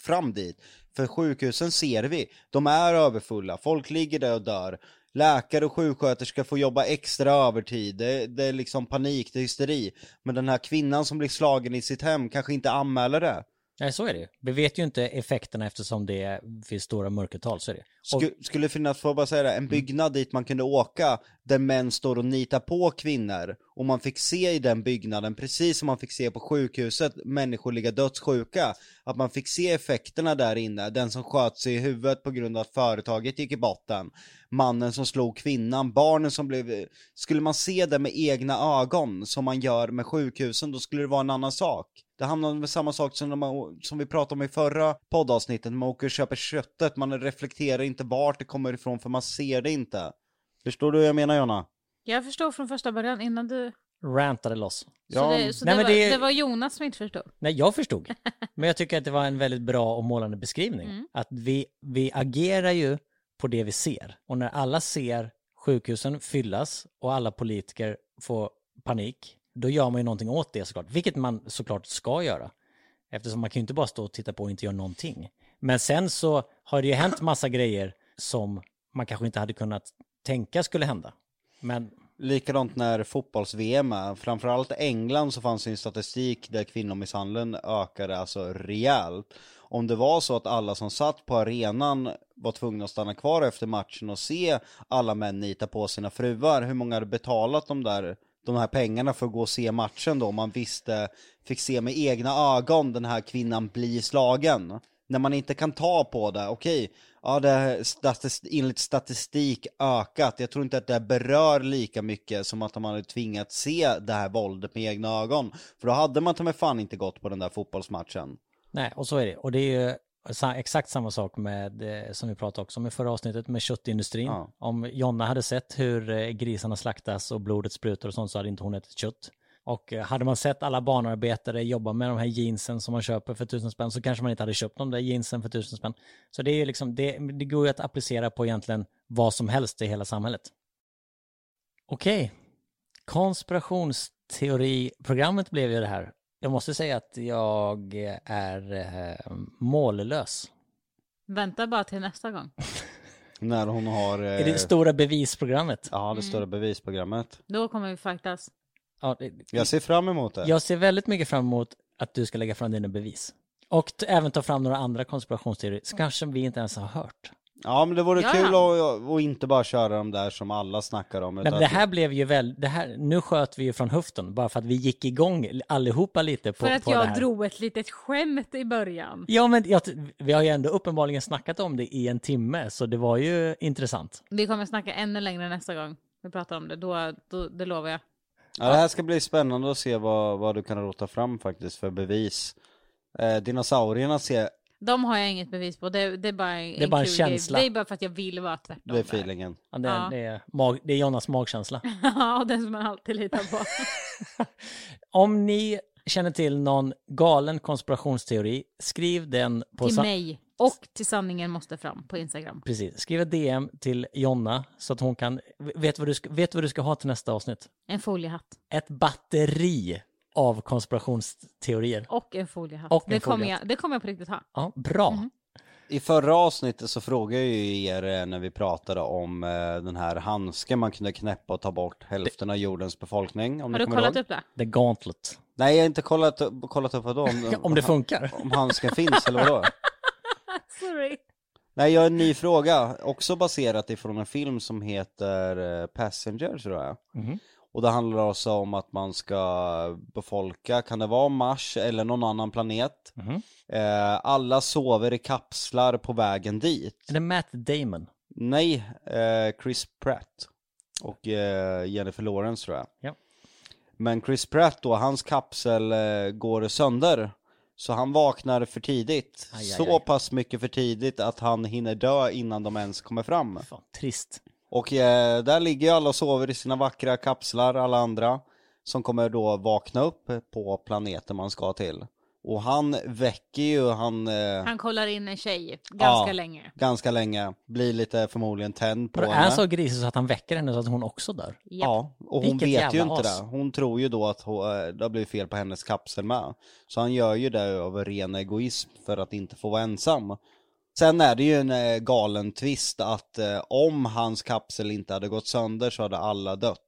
S1: fram dit. För sjukhusen ser vi, de är överfulla, folk ligger där och dör. Läkare och sjuksköterskor får jobba extra övertid, det, det är liksom panik, det är hysteri. Men den här kvinnan som blir slagen i sitt hem kanske inte anmäler det.
S2: Nej, så är det ju. Vi vet ju inte effekterna eftersom det finns stora mörkertal, så är det. Och,
S1: Sku- skulle finnas, får jag bara säga det, en byggnad dit man kunde åka där män står och nitar på kvinnor och man fick se i den byggnaden, precis som man fick se på sjukhuset, människor ligga dödssjuka, att man fick se effekterna där inne, den som sköt sig i huvudet på grund av att företaget gick i botten, mannen som slog kvinnan, barnen som blev, eh, skulle man se det med egna ögon som man gör med sjukhusen, då skulle det vara en annan sak. Det hamnar med samma sak som, när man, som vi pratade om i förra poddavsnittet, man åker och köper köttet, man reflekterar inte vart det kommer ifrån för man ser det inte. Förstår du vad jag menar Jonna?
S3: Jag förstod från första början innan du...
S2: rantade loss.
S1: Ja,
S3: så det, så
S2: Nej,
S3: det,
S2: men
S3: var,
S2: det-
S3: det... var Jonas som inte förstod.
S2: Nej, jag förstod. Men jag tycker att det var en väldigt bra och målande beskrivning. Att vi, vi agerar ju på det vi ser. Och när alla ser sjukhusen fyllas och alla politiker får panik, då gör man ju någonting åt det såklart. Vilket man såklart ska göra. Eftersom man kan ju inte bara stå och titta på och inte göra någonting. Men sen så har det ju hänt massa grejer som man kanske inte hade kunnat tänka skulle hända. Men
S1: Likadant när fotbolls-VM är, framförallt i England så fanns det en statistik där kvinnomisshandeln ökade alltså rejält. Om det var så att alla som satt på arenan var tvungna att stanna kvar efter matchen och se alla män nita på sina fruar, hur många hade betalat de där de här pengarna för att gå och se matchen då, om man visste, fick se med egna ögon den här kvinnan bli slagen. När man inte kan ta på det, okej, ja det här statist, enligt statistik ökat, jag tror inte att det här berör lika mycket som att man hade tvingat se det här våldet med egna ögon. För då hade man ta mig fan inte gått på den där fotbollsmatchen.
S2: Nej, och så är det. Och det är ju Sa- Exakt samma sak med, eh, som vi pratade också om i förra avsnittet med köttindustrin.
S1: Ja.
S2: Om Jonna hade sett hur eh, grisarna slaktas och blodet sprutar och sånt så hade inte hon ätit kött. Och eh, hade man sett alla barnarbetare jobba med de här jeansen som man köper för tusen spänn så kanske man inte hade köpt de där jeansen för tusen spänn. Så det är ju liksom, det, det går ju att applicera på egentligen vad som helst i hela samhället. Okej, konspirationsteoriprogrammet blev ju det här. Jag måste säga att jag är eh, mållös.
S3: Vänta bara till nästa gång.
S1: När hon har... eh,
S2: I det Mm. stora bevisprogrammet.
S1: Ja, det stora bevisprogrammet.
S3: Då kommer vi fightas.
S2: Ja, det-
S1: Jag ser fram emot det.
S2: Jag ser väldigt mycket fram emot att du ska lägga fram dina bevis. Och t- även ta fram några andra konspirationsteorier, som kanske vi inte ens har hört.
S1: Ja, men det vore
S3: Ja,
S1: kul
S3: ja.
S1: att, att inte bara köra de där som alla snackar om.
S2: Nej,
S1: Utan
S2: men det här blev ju väl, det här, nu sköt vi ju från höften, bara för att vi gick igång allihopa lite på,
S3: För att
S2: på det
S3: jag
S2: här.
S3: drog ett litet skämt i början.
S2: Ja, men jag, t- vi har ju ändå uppenbarligen snackat om det i en timme, så det var ju intressant.
S3: Vi kommer snacka ännu längre nästa gång. Vi pratar om det, då, då, det lovar jag.
S1: Ja, det här ska bli spännande att se vad, vad du kan rota fram faktiskt för bevis. Eh, dinosaurierna ser,
S3: De har jag inget bevis på, det, det är bara en,
S2: Det är bara en
S3: kul
S2: känsla.
S3: Grej. Det är bara för att jag vill vara tvärtom.
S1: det är feelingen.
S2: Ja, Det,
S3: Ja.
S2: det, är, mag, det är Jonas magkänsla.
S3: ja, den som man alltid litar på.
S2: Om ni känner till någon galen konspirationsteori, skriv den på...
S3: till
S2: sa-
S3: mig. Och till sanningen måste fram på Instagram.
S2: Precis. Skriv ett DM till Jonna så att hon kan... Vet vad du ska, vet vad du ska ha till nästa avsnitt?
S3: En foliehatt.
S2: Ett batteri av konspirationsteorier.
S3: Och en foliehatt.
S2: Och en
S3: det, kommer
S2: foliehatt.
S3: jag, det kommer jag på riktigt ha.
S2: Ja, bra.
S3: Mhm.
S1: I förra avsnittet så frågade jag ju er eh, när vi pratade om eh, den här handsken man kunde knäppa och ta bort hälften av jordens befolkning. Om
S3: Har
S1: ni
S3: du
S1: kommer
S3: kollat
S1: ihåg.
S3: upp det?
S2: The Gauntlet.
S1: Nej, jag har inte kollat, upp- kollat upp vadå? Om,
S2: Om det funkar.
S1: om handsken finns eller vadå?
S3: Sorry.
S1: Nej, jag har en ny fråga, också baserat ifrån en film som heter eh, Passenger tror jag.
S2: Mhm.
S1: Och det handlar alltså om att man ska befolka, kan det vara Mars eller någon annan planet?
S2: Mhm.
S1: Eh, alla sover i kapslar på vägen dit.
S2: Är det Matt Damon?
S1: Nej, eh, Chris Pratt och eh, Jennifer Lawrence tror jag.
S2: Ja.
S1: Men Chris Pratt då, hans kapsel eh, går sönder. Så han vaknar för tidigt.
S2: Aj, aj,
S1: så
S2: aj.
S1: pass mycket för tidigt att han hinner dö innan de ens kommer fram.
S2: Fan, trist.
S1: Och eh, där ligger ju alla och sover i sina vackra kapslar, alla andra. Som kommer då vakna upp på planeten man ska till. Och han väcker ju, han... Eh,
S3: Han kollar in en tjej ganska
S1: Ja.
S3: länge.
S1: ganska länge, blir lite förmodligen tänd på
S2: Vadå, Är
S1: henne.
S2: han så grisig så att han väcker henne så att hon också dör?
S1: Ja, och hon
S2: Vilket
S1: vet ju
S2: jävla
S1: inte
S2: as.
S1: det. Hon tror ju då att hon, eh, det har blivit fel på hennes kapsel med. Så han gör ju det av ren egoism för att inte få vara ensam. Sen är det ju en eh, galen twist att eh, om hans kapsel inte hade gått sönder så hade alla dött.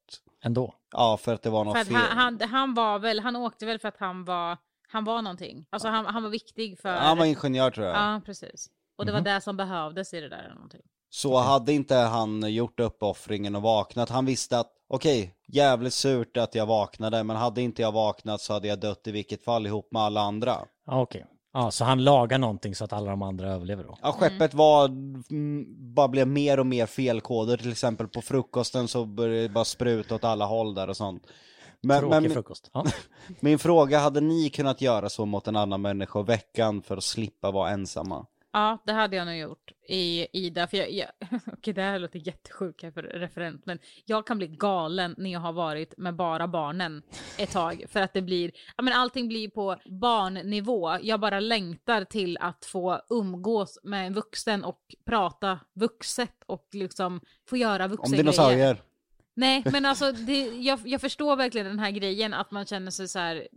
S2: Ändå.
S1: Ja, för att det var något
S3: För att
S1: fel.
S3: han, han, han var väl, han åkte väl för att han var, han var någonting. Alltså han, han var viktig för...
S1: Han var Mhm. ingenjör tror jag.
S3: ja, precis. Och det var det som behövdes i det där eller någonting.
S1: Så hade inte han gjort uppoffringen och vaknat, han visste att okej, jävligt surt att jag vaknade, men hade inte jag vaknat så hade jag dött i vilket fall ihop med alla andra.
S2: Ja, okej. Ja, så han lagar någonting så att alla de andra överlever då?
S1: Ja, skeppet var, mm, bara blev mer och mer felkoder, till exempel på frukosten så började det bara spruta åt alla håll där och sånt. Men,
S2: Tråkig
S1: men
S2: frukost. Ja.
S1: min fråga, hade ni kunnat göra så mot en annan människa i veckan för att slippa vara ensamma?
S3: Ja, det hade jag nog gjort i Ida. För jag, jag, okej, det här låter jättesjuk här för referent, men jag kan bli galen när jag har varit med bara barnen ett tag. För att det blir, ja men allting blir på barnnivå. Jag bara längtar till att få umgås med en vuxen och prata vuxet och liksom få göra
S1: Om
S3: vuxengrejer.
S1: dinosaurier?
S3: Nej, men alltså det, jag, jag förstår verkligen den här grejen att man känner sig så här,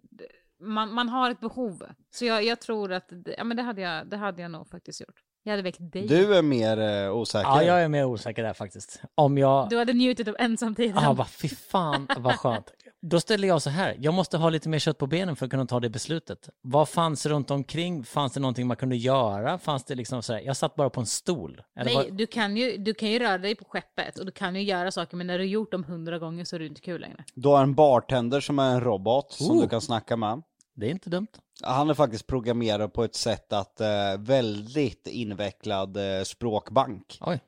S3: man, man har ett behov. Så jag, jag tror att, det- ja men det hade, jag, det hade jag nog faktiskt gjort. Jag hade väckt dig.
S1: Du är mer eh, osäker.
S2: ja, jag är mer osäker där faktiskt. Om jag...
S3: Du hade njutit av ensamtiden.
S2: Ja, Ah, vad fy fan vad skönt. Då ställer jag så här, jag måste ha lite mer kött på benen för att kunna ta det beslutet. Vad fanns runt omkring? Fanns det någonting man kunde göra? Fanns det liksom så här, jag satt bara på en stol. Eller
S3: Nej,
S2: var,
S3: du kan, ju, du kan ju röra dig på skeppet och du kan ju göra saker men när du gjort dem hundra gånger så är det inte kul längre.
S1: Du har en bartender som är en robot som
S2: Oh.
S1: du kan snacka med.
S2: det är inte dumt.
S1: Han är faktiskt programmerad på ett sätt att eh, väldigt invecklad eh, språkbank.
S2: Oj.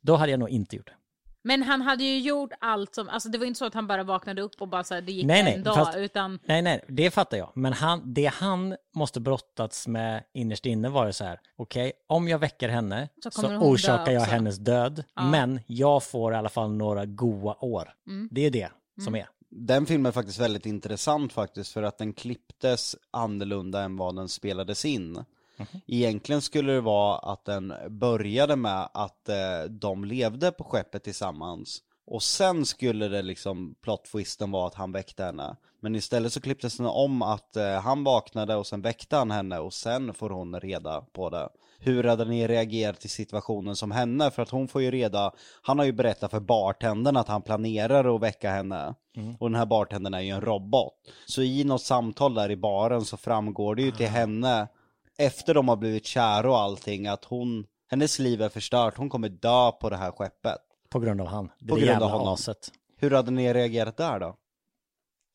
S2: Då hade jag nog inte gjort det.
S3: Men han hade ju gjort allt som, alltså det var inte så att han bara vaknade upp och bara så här, det gick
S2: Nej,
S3: en
S2: nej,
S3: dag,
S2: fast-
S3: utan
S2: Nej, nej, det fattar jag. Men han, det han måste brottats med innerst inne var ju så här, okej, om jag väcker henne
S3: Så
S2: så,
S3: kommer hon dö
S2: orsakar jag
S3: också.
S2: hennes död,
S3: Ja.
S2: men jag får i alla fall några goa år.
S3: Mm.
S2: Det är det som är.
S1: Den filmen är faktiskt väldigt intressant faktiskt för att den klipptes annorlunda än vad den spelades in. Egentligen skulle det vara att den började med att eh, de levde på skeppet tillsammans och sen skulle det liksom plot twisten vara att han väckte henne. Men istället så klipptes den om att eh, han vaknade och sen väckte han henne och sen får hon reda på det. Hur hade ni reagerat i situationen som henne? För att hon får ju reda, han har ju berättat för bartendern att han planerar att väcka henne. Och den här bartendern är ju en robot. Så i något samtal där i baren så framgår det ju till henne, efter de har blivit kära och allting, att hon, hennes liv är förstört, hon kommer dö på det här skeppet.
S2: På grund av han. Det
S1: På
S2: är
S1: grund av
S2: jävla
S1: honom.
S2: aset.
S1: Hur hade ni reagerat där då?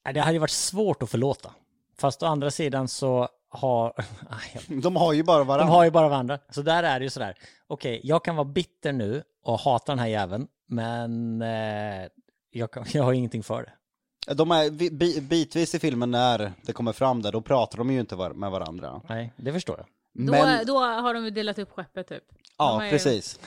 S2: Nej, Det hade ju varit svårt att förlåta. Fast å andra sidan så har... Aj, jag
S1: De har ju bara
S2: De
S1: varandra.
S2: har ju bara varandra. Så där är det ju sådär. Okej, jag kan vara bitter nu och hata den här jäveln, men eh, jag, kan, jag har ingenting för det.
S1: De är, vi- bi, bitvis i filmen när det kommer fram där, då pratar de ju inte var, med varandra.
S2: Nej, det förstår jag.
S3: då,
S1: Men,
S3: då har de ju delat upp skeppet typ.
S1: ja
S3: de har ju-
S1: precis.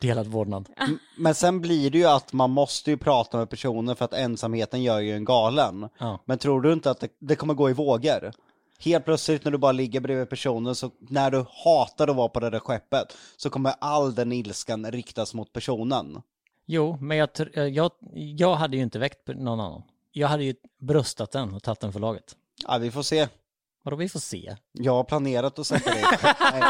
S2: Delad vårdnad.
S1: M- Men sen blir det ju att man måste ju prata med personer för att ensamheten gör ju en galen.
S2: Ja.
S1: Men tror du inte att det, det kommer gå i vågor? Helt plötsligt när du bara ligger bredvid personen, så när du hatar att vara på det där skeppet, så kommer all den ilskan riktas mot personen.
S2: Jo, men jag, tr- eh, jag, jag hade ju inte väckt någon annan. Jag hade ju bröstat den och tagit den för laget.
S1: Ja, vi får se.
S2: Vadå, vi får se.
S1: Jag har planerat att sätta dig. Nej.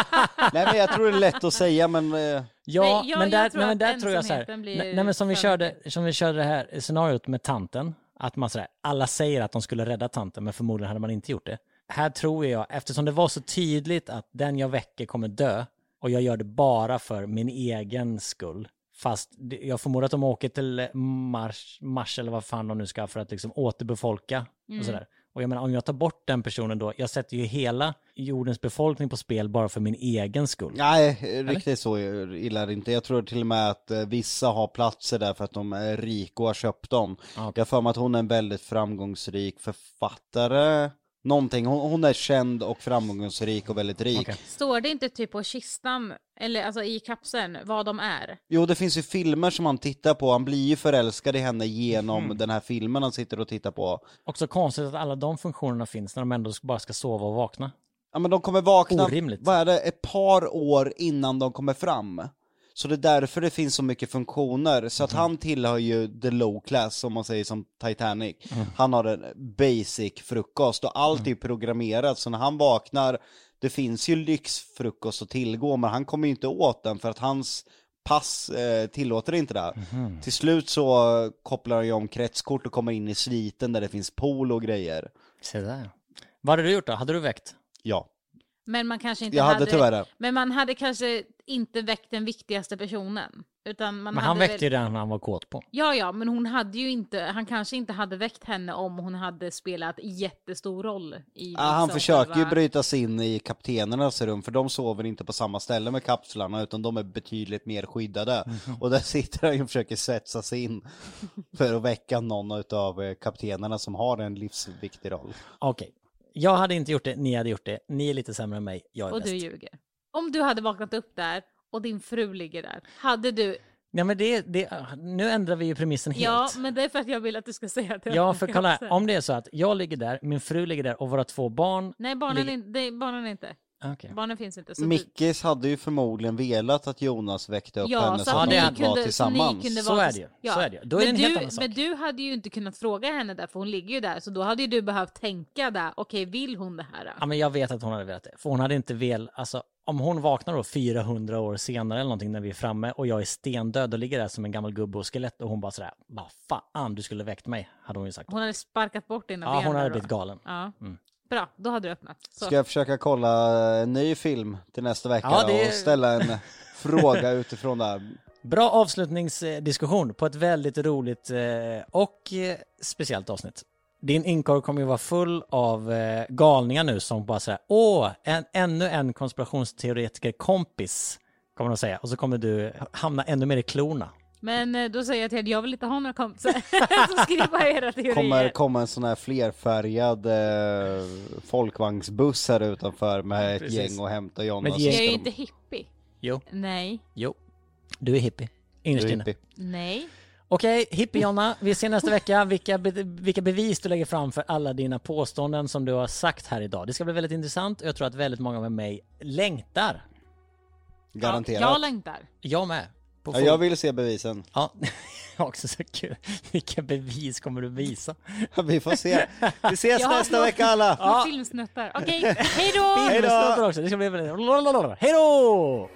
S1: Nej, men jag tror det är lätt att säga, men eh,
S2: Ja,
S3: Nej, ja,
S2: men där,
S3: jag tror
S2: nej, men
S3: att
S2: där tror jag så här.
S3: ensamheten blir
S2: Nej, nej, men som vi,
S3: för
S2: körde, som vi körde det här scenariot med tanten. Att man sådär, alla säger att de skulle rädda tanten, men förmodligen hade man inte gjort det. Här tror jag, eftersom det var så tydligt att den jag väcker kommer dö och jag gör det bara för min egen skull. Fast det- jag förmodar att de åker till eh, Mars, Mars eller vad fan de nu ska för att liksom återbefolka
S3: Mm.
S2: och sådär. Och jag menar, om jag tar bort den personen då, jag sätter ju hela jordens befolkning på spel bara för min egen skull.
S1: nej, riktigt så illa är det inte. Jag tror till och med att eh, vissa har platser där för att de är rika och har köpt dem.
S2: Ja,
S1: Jag har för mig att hon är en väldigt framgångsrik författare. Någonting, hon, hon är känd och framgångsrik och väldigt rik.
S2: Okej.
S3: Står det inte typ på kistan, eller alltså i kapseln, vad de är?
S1: Jo, det finns ju filmer som han tittar på. Han blir ju förälskad i henne genom den här filmen han sitter och tittar på.
S2: Också konstigt att alla de funktionerna finns när de ändå bara ska sova och vakna.
S1: Ja, men de kommer vakna,
S2: Orimligt.
S1: vad är det, ett par år innan de kommer fram. Så det är därför det finns så mycket funktioner. Så att han tillhör ju the low class, som man säger som Titanic. Han har en basic frukost och allt är ju programmerat. Så när han vaknar, det finns ju lyxfrukost att tillgå, men han kommer ju inte åt den för att hans pass eh, tillåter inte det. här. Till slut så eh, kopplar han ju om kretskort och kommer in i sviten där det finns pool och grejer.
S2: Se där. Vad hade du gjort då? Hade du väckt?
S1: Ja,
S3: Men man kanske inte
S1: jag hade tyvärr det.
S3: Men man hade kanske inte väckt den viktigaste personen. Utan
S2: Men
S3: man hade
S2: han väckte
S3: väl...
S2: ju den han var kåt på.
S3: Ja, ja, men hon hade ju inte, han kanske inte hade väckt henne om hon hade spelat jättestor roll. I
S1: Ja, han
S3: liksom
S1: försöker ju
S3: själva-
S1: bryta sig in i kaptenernas rum för de sover inte på samma ställe med kapslarna utan de är betydligt mer skyddade. Och där sitter han ju och försöker svetsa sig in för att väcka någon av kaptenerna som har en livsviktig roll.
S2: Okej. Jag hade inte gjort det, ni hade gjort det. Ni är lite sämre än mig, jag är
S3: Och
S2: bäst.
S3: du ljuger. Om du hade vaknat upp där och din fru ligger där, hade du...
S2: Nej men det, det, nu ändrar vi ju premissen
S3: Ja,
S2: helt.
S3: men det är för att jag vill att du ska säga att jag
S2: Ja, för kolla här,
S3: kapseln.
S2: om det är så att jag ligger där, min fru ligger där och våra två barn...
S3: Nej, barnen,
S2: Ligger-
S3: är inte- det är, barnen är inte.
S2: Okej.
S3: Barnen finns inte. Så du-
S1: Mickis hade ju förmodligen velat att Jonas väckte upp
S3: Ja,
S1: henne
S3: så
S1: så
S3: att
S1: att
S2: ni
S1: de kunde vara
S3: kunde- så ni
S1: tillsammans.
S3: kunde-
S2: Så
S3: vara-
S2: är det ju. Så är det ju. Då är det en
S3: men,
S2: helt
S3: du,
S2: annan sak.
S3: men du hade ju inte kunnat fråga henne där, för hon ligger ju där. Så då hade ju du behövt tänka där, okej, vill hon det här?
S2: Ja, men jag vet att hon hade velat det. För hon hade inte vel, alltså om hon vaknar då 400 år senare eller någonting när vi är framme och jag är stendöd och ligger där som en gammal gubbe och skelett och hon bara sådär, vad fan du skulle väckt mig, hade hon ju sagt.
S3: Hon hade sparkat bort dina
S2: ja,
S3: ben
S2: hon
S3: där
S2: hade
S3: då.
S2: blivit galen.
S3: Ja.
S2: Mm.
S3: Bra, då hade du öppnat. Så.
S1: Ska jag försöka kolla en ny film till nästa vecka
S2: Ja,
S1: då
S2: det-
S1: och ställa en fråga utifrån det här?
S2: Bra avslutningsdiskussion på ett väldigt roligt eh, och eh, speciellt avsnitt. Din inkorg kommer ju vara full av eh, galningar nu som bara säger åh, en, ännu en konspirationsteoretiker kompis, kommer de säga. Och så kommer du hamna ännu mer i klorna.
S3: Men eh, då säger jag till er, jag vill inte ha några kompisar. så skriv bara era teorier.
S1: Kommer komma en sån här flerfärgad eh, folkvagnsbuss här utanför med ett
S2: Precis.
S1: gäng och hämta Jonna.
S2: Men
S1: så
S2: ge-
S1: ska
S3: Jag är ju
S1: de-
S3: inte hippie.
S2: Jo,
S3: Nej.
S2: jo. Du är hippie. Innerst
S1: Du är
S2: inne.
S1: hippie.
S3: Nej.
S2: Okej, hippie-Jonna. Vi ses nästa vecka. Vilka, be- vilka bevis du lägger fram för alla dina påståenden som du har sagt här idag. Det ska bli väldigt intressant och jag tror att väldigt många med mig längtar.
S1: Garanterat.
S3: Ja,
S1: Ja,
S3: jag längtar.
S2: Jag med. På
S1: jag,
S2: full-
S1: vill se bevisen.
S2: Ja, också så kul. Vilka bevis kommer du visa?
S1: Vi får se. Vi ses
S3: Jag har
S1: nästa
S3: nog-
S1: vecka alla!
S3: Filmsnuttar. Okej, hej då!
S2: Hej då! Också. Det ska bli väldigt... Hej då!